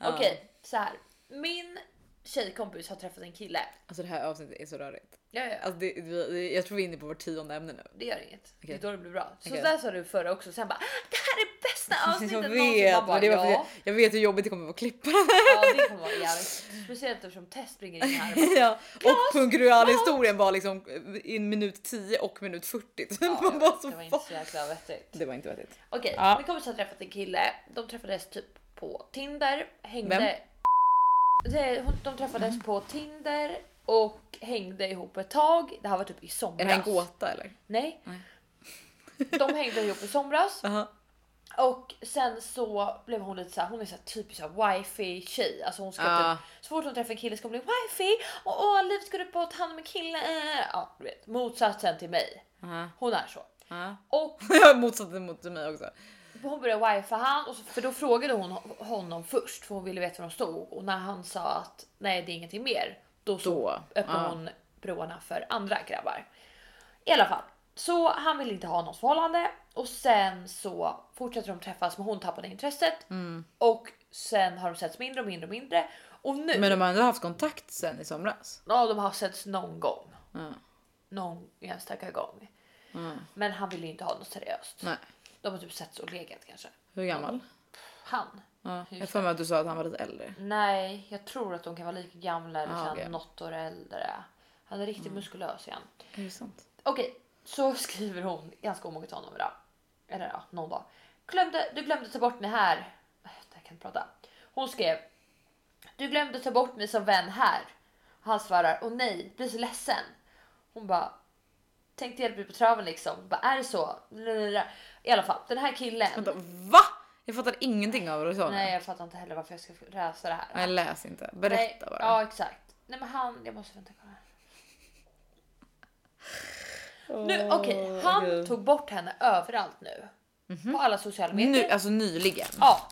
Ja.
Okej, så här. Min tjejkompis har träffat en kille.
Alltså det här avsnittet är så rörigt.
Ja, ja,
Alltså det, vi- det, jag tror vi är inne på vårt tionde ämne nu.
det gör inget.
Okej.
Det är då det blir bra. Så
Okej.
där sa du förra också. Sen bara, "Ah, det här är bästa avsnittet
Jag
någonsin.
vet,
Man
men
bara,
det var för
ja,
att jag vet hur jobbigt det kommer vara att klippa den
ja, det kommer vara jävligt. Speciellt eftersom Tess springer in här. och bara,
här. ja. Och punkrual-historien var liksom i minut 10 och minut 40. typ.
Ja,
Man bara, så
det var inte
fan.
så jäkla vettigt.
det var inte vettigt.
Okej,
Ja.
min kompis har träffat en kille. De träffades typ på Tinder. Hängde...
Vem?
Det, hon- de
Mm.
träffades på Tinder och hängde ihop ett tag. Det här var typ i somras.
Är det här en gåta eller?
Nej.
Nej.
De hängde ihop i somras
Aha.
och sen så blev hon lite så här, hon är så här typisk så här wifi tjej. Alltså hon ska
Ja.
typ, så fort hon träffar en kille ska hon bli wifi och åh livet går ut på att ta hand om en kille. eh. Ja, du vet motsatsen till mig.
Aha.
Hon är så.
Aha.
Och
Jag har motsatt det mot mig också.
hon började wifi han och så, för då frågade hon honom först för hon ville veta var de stod och när han sa att nej det är ingenting mer då så
Då,
öppnade
ja.
hon broarna för andra grabbar. I alla fall så han vill inte ha något förhållande och sen så fortsätter de träffas men hon tappade intresset
Mm.
och sen har de setts mindre och mindre och mindre och nu
Men de har ändå haft kontakt sen i somras.
ja de har setts någon gång
Ja.
någon enstaka gång.
Ja.
Men han vill ju inte ha något seriöst.
Nej.
De har typ setts och legat kanske.
Hur gammal?
Han
Ja. Jag
Just
får mig att du sa att han var lite äldre.
Nej, jag tror att de kan vara lika gamla eller
Ah,
ah,
okej. Mm.
något år äldre. Han är riktigt muskulös igen.
Är det sant?
Okej, så skriver hon ganska omoget honom idag. Eller ja, någon dag. Glömde, du glömde ta bort mig här. Äh, Där kan jag inte prata. Hon skrev. Du glömde ta bort mig som vän här. Han svarar. Åh nej, blir så ledsen. Hon bara. Tänkte hjälpa dig på traven liksom. Bara, är det så? Blablabla. I alla fall, den här killen.
Vänta, va? Jag fattar ingenting av vad du sa nu.
Nej, jag fattar inte heller varför jag ska läsa det här.
Nej, läs inte. Berätta
Nej,
bara.
Ja exakt. Nej men han, jag måste vänta kolla. här. Nu, okej, han tog bort henne överallt nu. På alla sociala
Mhm. Nu,
medier.
alltså nyligen?
Ja,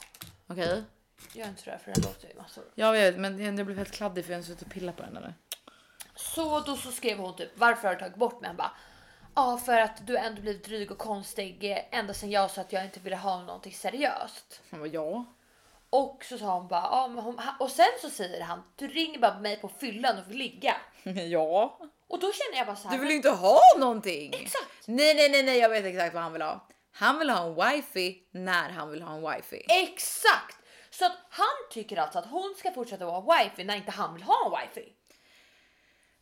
Okej.
jag är inte rädd för den låter ju massor.
Jag vet men jag blev helt kladdig för jag har suttit och pillat på den eller?
Så då så skrev hon typ varför har du tagit bort mig? Han bara ja för att du har ändå blivit dryg och konstig eh, ända sedan jag sa att jag inte ville ha någonting seriöst.
Han bara ja.
Och så sa hon bara ja men hon, och sen så säger han du ringer bara mig på fyllan och vill ligga.
ja.
Och då känner jag bara så här.
Du vill ju inte ha någonting.
Exakt.
Nej, nej, nej, nej, jag vet exakt vad han vill ha. Han vill ha en wifi när han vill ha en wifi.
Exakt! Så att han tycker alltså att hon ska fortsätta vara wifi när inte han vill ha en wifi.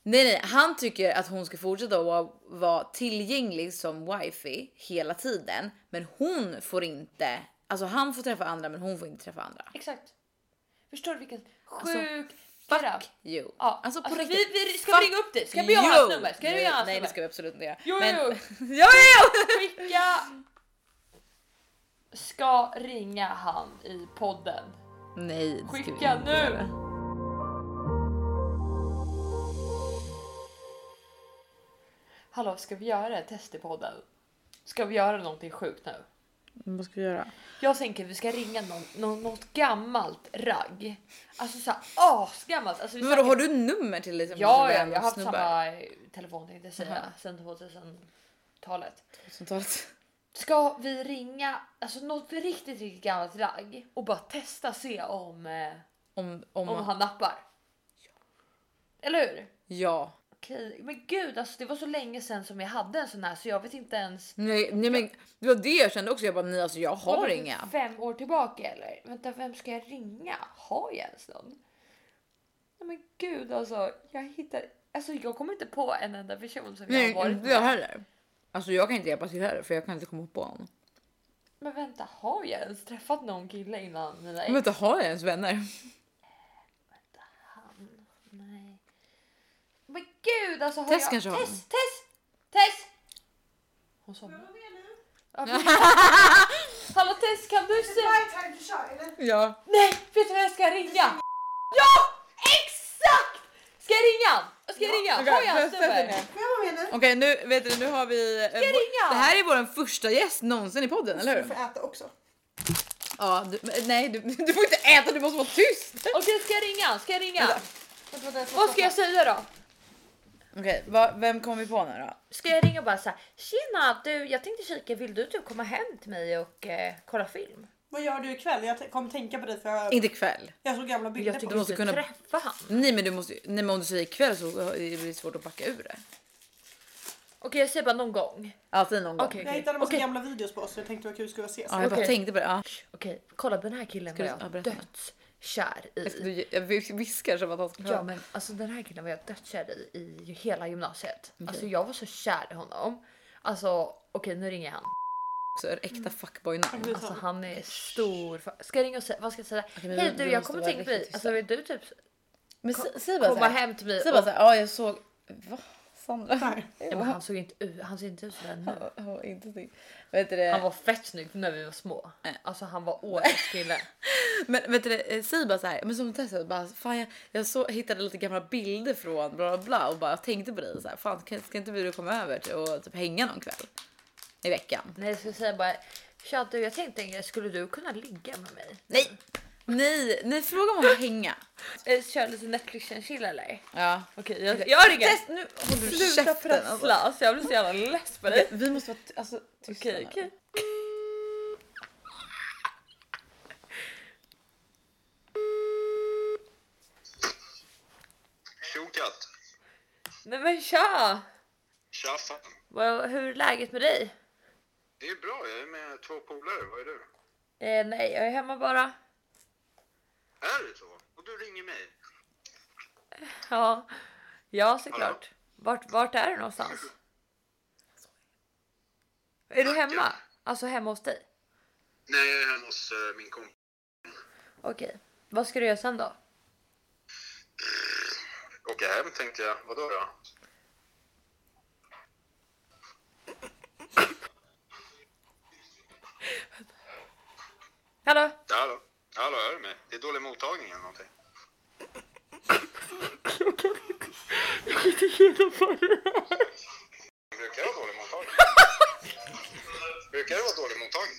Nej, nej, han tycker att hon ska fortsätta att vara, vara tillgänglig som wifi hela tiden, men hon får inte. Alltså, han får träffa andra, men hon får inte träffa andra.
Exakt. Förstår du vilken sjuk
Alltså, Fuck
grabb?
you.
Ja,
Alltså, på
alltså,
riktigt.
vi- vi- ska vi ringa upp dig? Ska vi göra
you.
hans nummer? Ska vi
Nej,
göra hans
Nej, det
nummer?
ska vi absolut inte göra.
Jo,
Men-
jo, jo.
jo, jo, jo.
Skicka! Ska ringa han i podden.
Nej, det ska vi
Skicka
inte
nu!
göra.
Hallå, ska vi göra ett test i podden? Ska vi göra någonting sjukt nu?
Vad ska vi göra?
Jag tänker att vi ska ringa någon, någon, något gammalt ragg. Alltså såhär asgammalt. Alltså, vi
Men vadå,
snackar-
har du nummer till liksom
Ja,
dina
ja,
vänner
jag har
och
haft
snubbar?
samma eh, telefon tänkte jag säga
Jaha.
sen 2000-talet.
Som talat.
Ska vi ringa alltså något riktigt, riktigt gammalt ragg och bara testa se om, eh,
Om, om,
om han nappar? Eller hur?
Ja.
Okej, men gud alltså det var så länge sedan som jag hade en sån här så jag vet inte ens.
Nej, nej men det var det jag kände också. Jag bara nej alltså jag har
Var det typ
inga.
Fem år tillbaka eller? Vänta, vem ska jag ringa? Har jag ens någon? Nej men gud alltså, jag hittar... Alltså jag kommer inte på en enda person som jag
Nej,
har varit
inte jag heller. Alltså jag kan inte hjälpa till här för jag kan inte komma på honom.
Men vänta, har jag ens träffat någon kille innan mina
Men
ex?
inte har jag ens vänner.
Han? Nej. Men gud alltså har
Tess
jag...
kanske har
Tess,
någon.
Tess, Tess! Hon somnade. Ja, men- Hallå Tess kan du
Det
säga...
här är time to shine.
Ja.
Nej, vet du vad jag ska ringa? Ja! Exakt! Ska jag ringa han? Ska jag ringa?
Okej,
Har jag hans
sätt dig
nummer?
ner.
Får jag vara med nu?
Okej nu vet du, nu har vi... eh, vår-
ringa?
Det här är vår första gäst någonsin i podden, eller
Du
hur?
får äta också.
Ja, du, men nej du, du får inte äta, du måste vara tyst!
Okej, ska jag ringa? Ska jag ringa?
Jag tror att jag
Vad ska jag säga då?
Okej, va, vem kom vi på nu då?
Ska jag ringa och bara såhär, tjena du jag tänkte kika, vill du typ komma hem till mig och eh, kolla film?
Vad gör du ikväll? Jag t- kom tänka på dig för jag,
Inte ikväll.
jag såg gamla bilder
Jag
på
tycker
Du
vi
dig.
ska
måste kunna-
träffa han.
Nej men, du måste, nej men om du säger ikväll så blir det svårt att backa ur det.
Okej jag säger bara någon gång.
Alltid någon gång.
Okej.
Jag hittade en massa
Okej.
gamla videos på oss så jag tänkte vad kul skulle vara att ses.
Ja, jag bara
Okej.
tänkte på det. Ja.
Okej kolla den här killen
Ska
var
du- ja,
jag
berätta.
dödskär
Jag,
i.
du, jag viskar som att han ska
Ja men alltså den här killen var jag dödskär i i hela gymnasiet. Alltså jag var så kär i honom. Alltså okej nu ringer jag han.
också. Är det äkta fuckboy
Jag
namn.
blir så-
Alltså han är stor. fa- Ska jag ringa och säga, vad ska jag säga?
men
Hej
vi-
du
vi
jag
måste
kommer
vara
tänka på dig.
riktigt
Alltså vill du typ
Men sä- säg bara
komma
såhär.
hem till mig?
Säg
Och,
bara såhär. Ja jag såg. Va? Sandra?
ja, men han såg inte ut, han ser inte ut sådär nu.
Han var inte snygg. Vet du
Han
det?
var fett snygg när vi var små. Alltså han var årets kille.
Men vet du det? eh, Säg bara såhär. Men som Tessa bara. Fan jag, jag så, hittade lite gamla bilder från bla bla bla och bara tänkte på dig såhär. Fan kan- ska inte du komma över till- och typ hänga någon kväll? I veckan?
Nej jag skulle säga bara Tja du jag tänkte en grej, skulle du kunna ligga med mig?
Nej! Nej, nej fråga om att hänga.
Eh, Kör lite Netflix and chill eller?
Ja.
Okej jag, jag ringer!
Tess, nu håller du
Sluta
käften. alltså.
prassla, alltså, jag blir så jävla less på dig.
Vi måste vara ty- alltså, tysta
Okej
nu.
okej.
Tjokat!
Nej men tja!
Tja fan!
Vad- Hur är läget med dig?
Det är bra, jag är med två polare. Vad är du?
Eh, nej jag är hemma bara.
Är det så? Och du ringer mig?
Ja, ja såklart. Vart, vart är du någonstans? Är du hemma? Alltså hemma hos dig?
Nej, jag är hemma hos eh, min kompis.
Okej. Vad ska du göra sen då?
Åka hem tänkte jag. Vadå då?
Hallå?
Hallå? Hallå, hör du mig? Det är dålig mottagning eller någonting. Jag kan inte, jag kan inte genomföra det här. Brukar det vara dålig mottagning? Brukar det vara dålig mottagning?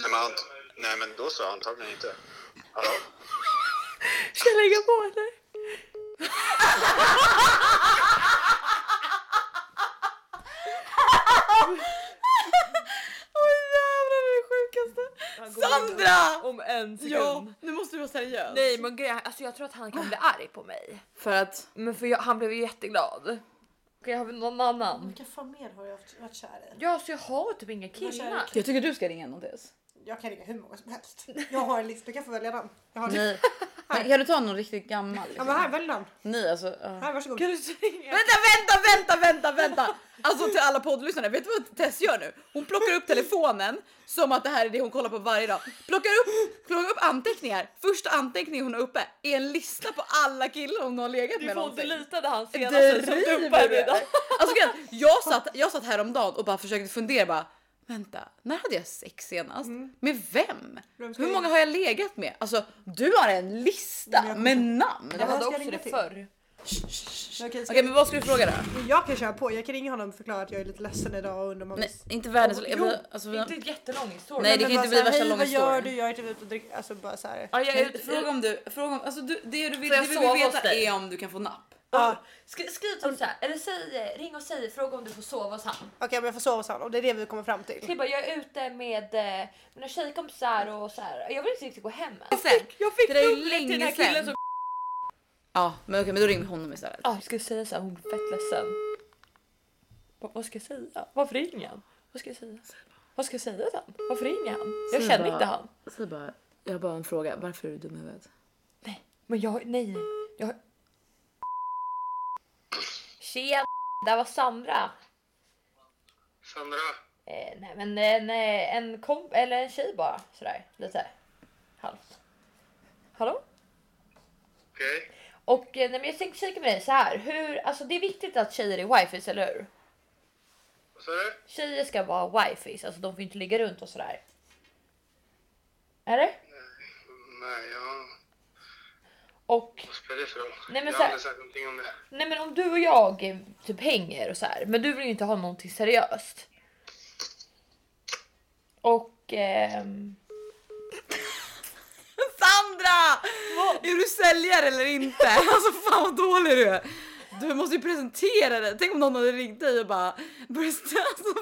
Nej men, ant- nej, men då så, antagligen inte. Hallå?
Ska jag lägga på eller?
Oj jävlar det är det sjukaste. Sandra!
Om en
Ja, nu måste du vara seriös.
Nej men grejen, alltså jag tror att han kan bli arg på mig.
För att
Men för jag, han blev ju jätteglad. Okej, har vi någon annan?
Vilka fan mer har jag haft- varit kär i?
Ja, så jag har typ inga
kär i
killar.
jag tycker du ska ringa någon till oss.
Jag kan ringa hur många som helst. Jag har en lista, du kan få välja den. Jag har en lista.
Nej. Men Kan du ta någon riktigt gammal?
Ja
Liksom?
men här, välj den.
Nej alltså. ja.
Här, varsågod.
du ringa?
Vänta, vänta, vänta, vänta, vänta! Alltså till alla poddlyssnare, vet du vad Tess gör nu? Hon plockar upp telefonen som att det här är det hon kollar på varje dag. Plockar upp, plockar upp anteckningar. Första anteckningen hon har uppe är en lista på alla killar hon har legat
Du
med
får
någonsin.
delita han senaste som du
Driver du?
idag.
Alltså grejen, jag satt, jag satt häromdagen och bara försökte fundera bara Vänta, när hade jag sex senast? Med Mm. vem?
Vem ska
Hur
jag-
många har jag legat med? Alltså, du har en lista
Men jag-
med namn.
Jag
här
hade
ska jag
också
ringa
det
till.
förr.
Okej, ska
Okej, men vad ska du fråga då?
Jag kan köra på, jag kan ringa honom och förklara att jag är lite ledsen idag och undrar om han
Nej, inte världens...
Jo,
jag vill- alltså, vi har-
Inte en jättelång historia.
Nej, det
Men
kan inte
bara
bli
så här,
värsta
"Hej,
långa
vad gör
storyn."
du? Jag är typ ute och dricker. Alltså bara så här.
Ja, jag,
Nej,
jag,
Fråga om du, fråga om, alltså du, det du vill,
Får jag
det vi
sova
vill
hos
veta
dig?
är om du kan få napp.
Ja,
Skri, skriv typ såhär, eller säg, eh, ring och säg, fråga om du får sova hos han.
Okej men jag får sova hos honom och det är det vi kommer fram till.
Skriv Typ bara, jag är ute med eh, mina tjejkompisar och så här. jag vill inte riktigt gå hem än.
Jag fick
Det där är ju länge sedan.
Ja, men okej, men då ringer vi honom istället.
Ja, jag Ah, ska säga såhär, hon blir fett ledsen. Va, vad ska jag säga? Varför ringer han? Vad ska jag säga? Vad ska jag säga till han? Varför ringer han? Jag
Säg
känner
bara-
inte han.
Säg bara, jag har bara en fråga. Varför är du dum i huvudet?
Nej, men jag, nej. Jag... Tjena, där var Sandra.
Sandra?
Eh, nej men en, eh, en komp eller en tjej bara sådär lite halvt. Hallå?
Okej?
Och eh, nej, men jag tänkte kika med dig så här. Hur, alltså det är viktigt att tjejer är wifis, eller hur?
Vad sa du?
Tjejer ska vara wifis, alltså de får inte ligga runt och sådär. Är det?
Nej, jag...
Och
Mm, Vad spelar det för roll?
Nej, men
jag
så
har
här-
aldrig sagt någonting om det.
nej men om du och jag eh, typ hänger och så här, men du vill ju inte ha någonting seriöst. Och ehm,
Sandra! Är du säljare eller inte? Alltså fan vad dålig du är. Du måste ju presentera dig. Tänk om någon hade ringt dig och bara börjat ställa- alltså,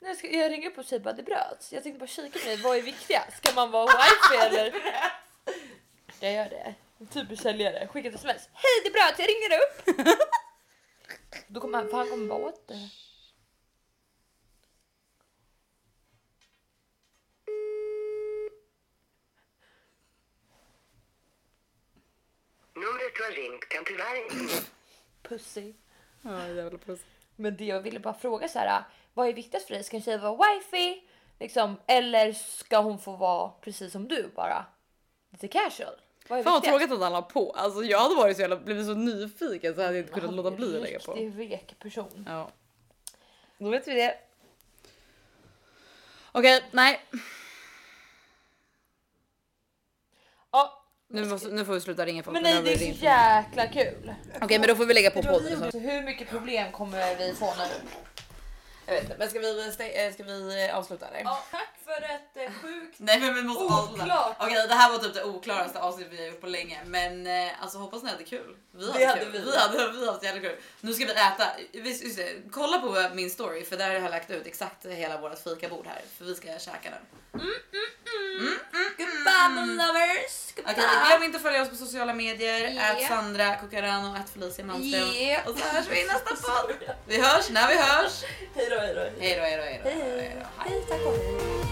när jag, ska, jag ringer upp och säger bara det bröts. Jag tänkte bara kika på dig, vad är viktigast? Ska man vara wifi eller? Jag gör det. Typ En Typisk säljare. Skicka ett sms. Hej det bröts, jag ringer upp. Då kommer han, för han kommer bara åt det.
Numret du har ringt kan tyvärr inte...
Pussy.
Ja, jävla puss.
Men det jag ville bara fråga så här, äh, vad är viktigast för dig? Ska en tjej vara wifey? Liksom, eller ska hon få vara precis som du bara? Lite casual? Vad är
Fan vad
viktigast?
tråkigt att han la på. Alltså jag hade varit så jävla, blivit så nyfiken så hade jag inte kunnat låta bli att lägga på.
Riktig vek person.
Ja. Då vet vi det. Okej, nej.
Ja,
Nu, måste, nu får vi sluta ringa folk.
men
för nu
nej
har
det
vi
är
ringt.
så jäkla kul.
Okej, men då får vi lägga på podden. så.
Så hur mycket problem kommer vi få nu?
Jag vet inte, men ska vi, stäng- eh, ska vi eh, avsluta eller?
Ja, tack för ett eh, sjukt...
Nej men vi måste avsluta.
Oklart.
Okej det här var typ det oklaraste avsnittet vi har gjort på länge men eh, alltså hoppas ni hade kul. Vi hade,
hade
kul.
vi.
Vi hade, vi hade jävla kul. Nu ska vi äta. Visst, just det, kolla på min story för där har jag lagt ut exakt hela vårt fikabord här för vi ska käka nu.
Goodbye my lovers! Goodbye.
Okej glöm inte att följa oss på sociala medier.
Yeah.
Ät Sandra Cucarano, ät Felicia Malmström.
Yeah.
Och så hörs vi i nästa podd. Vi hörs när vi hörs.
Hej då, hej då.
Hej då hej då hej då. Hej då.
Hej, tack och hej.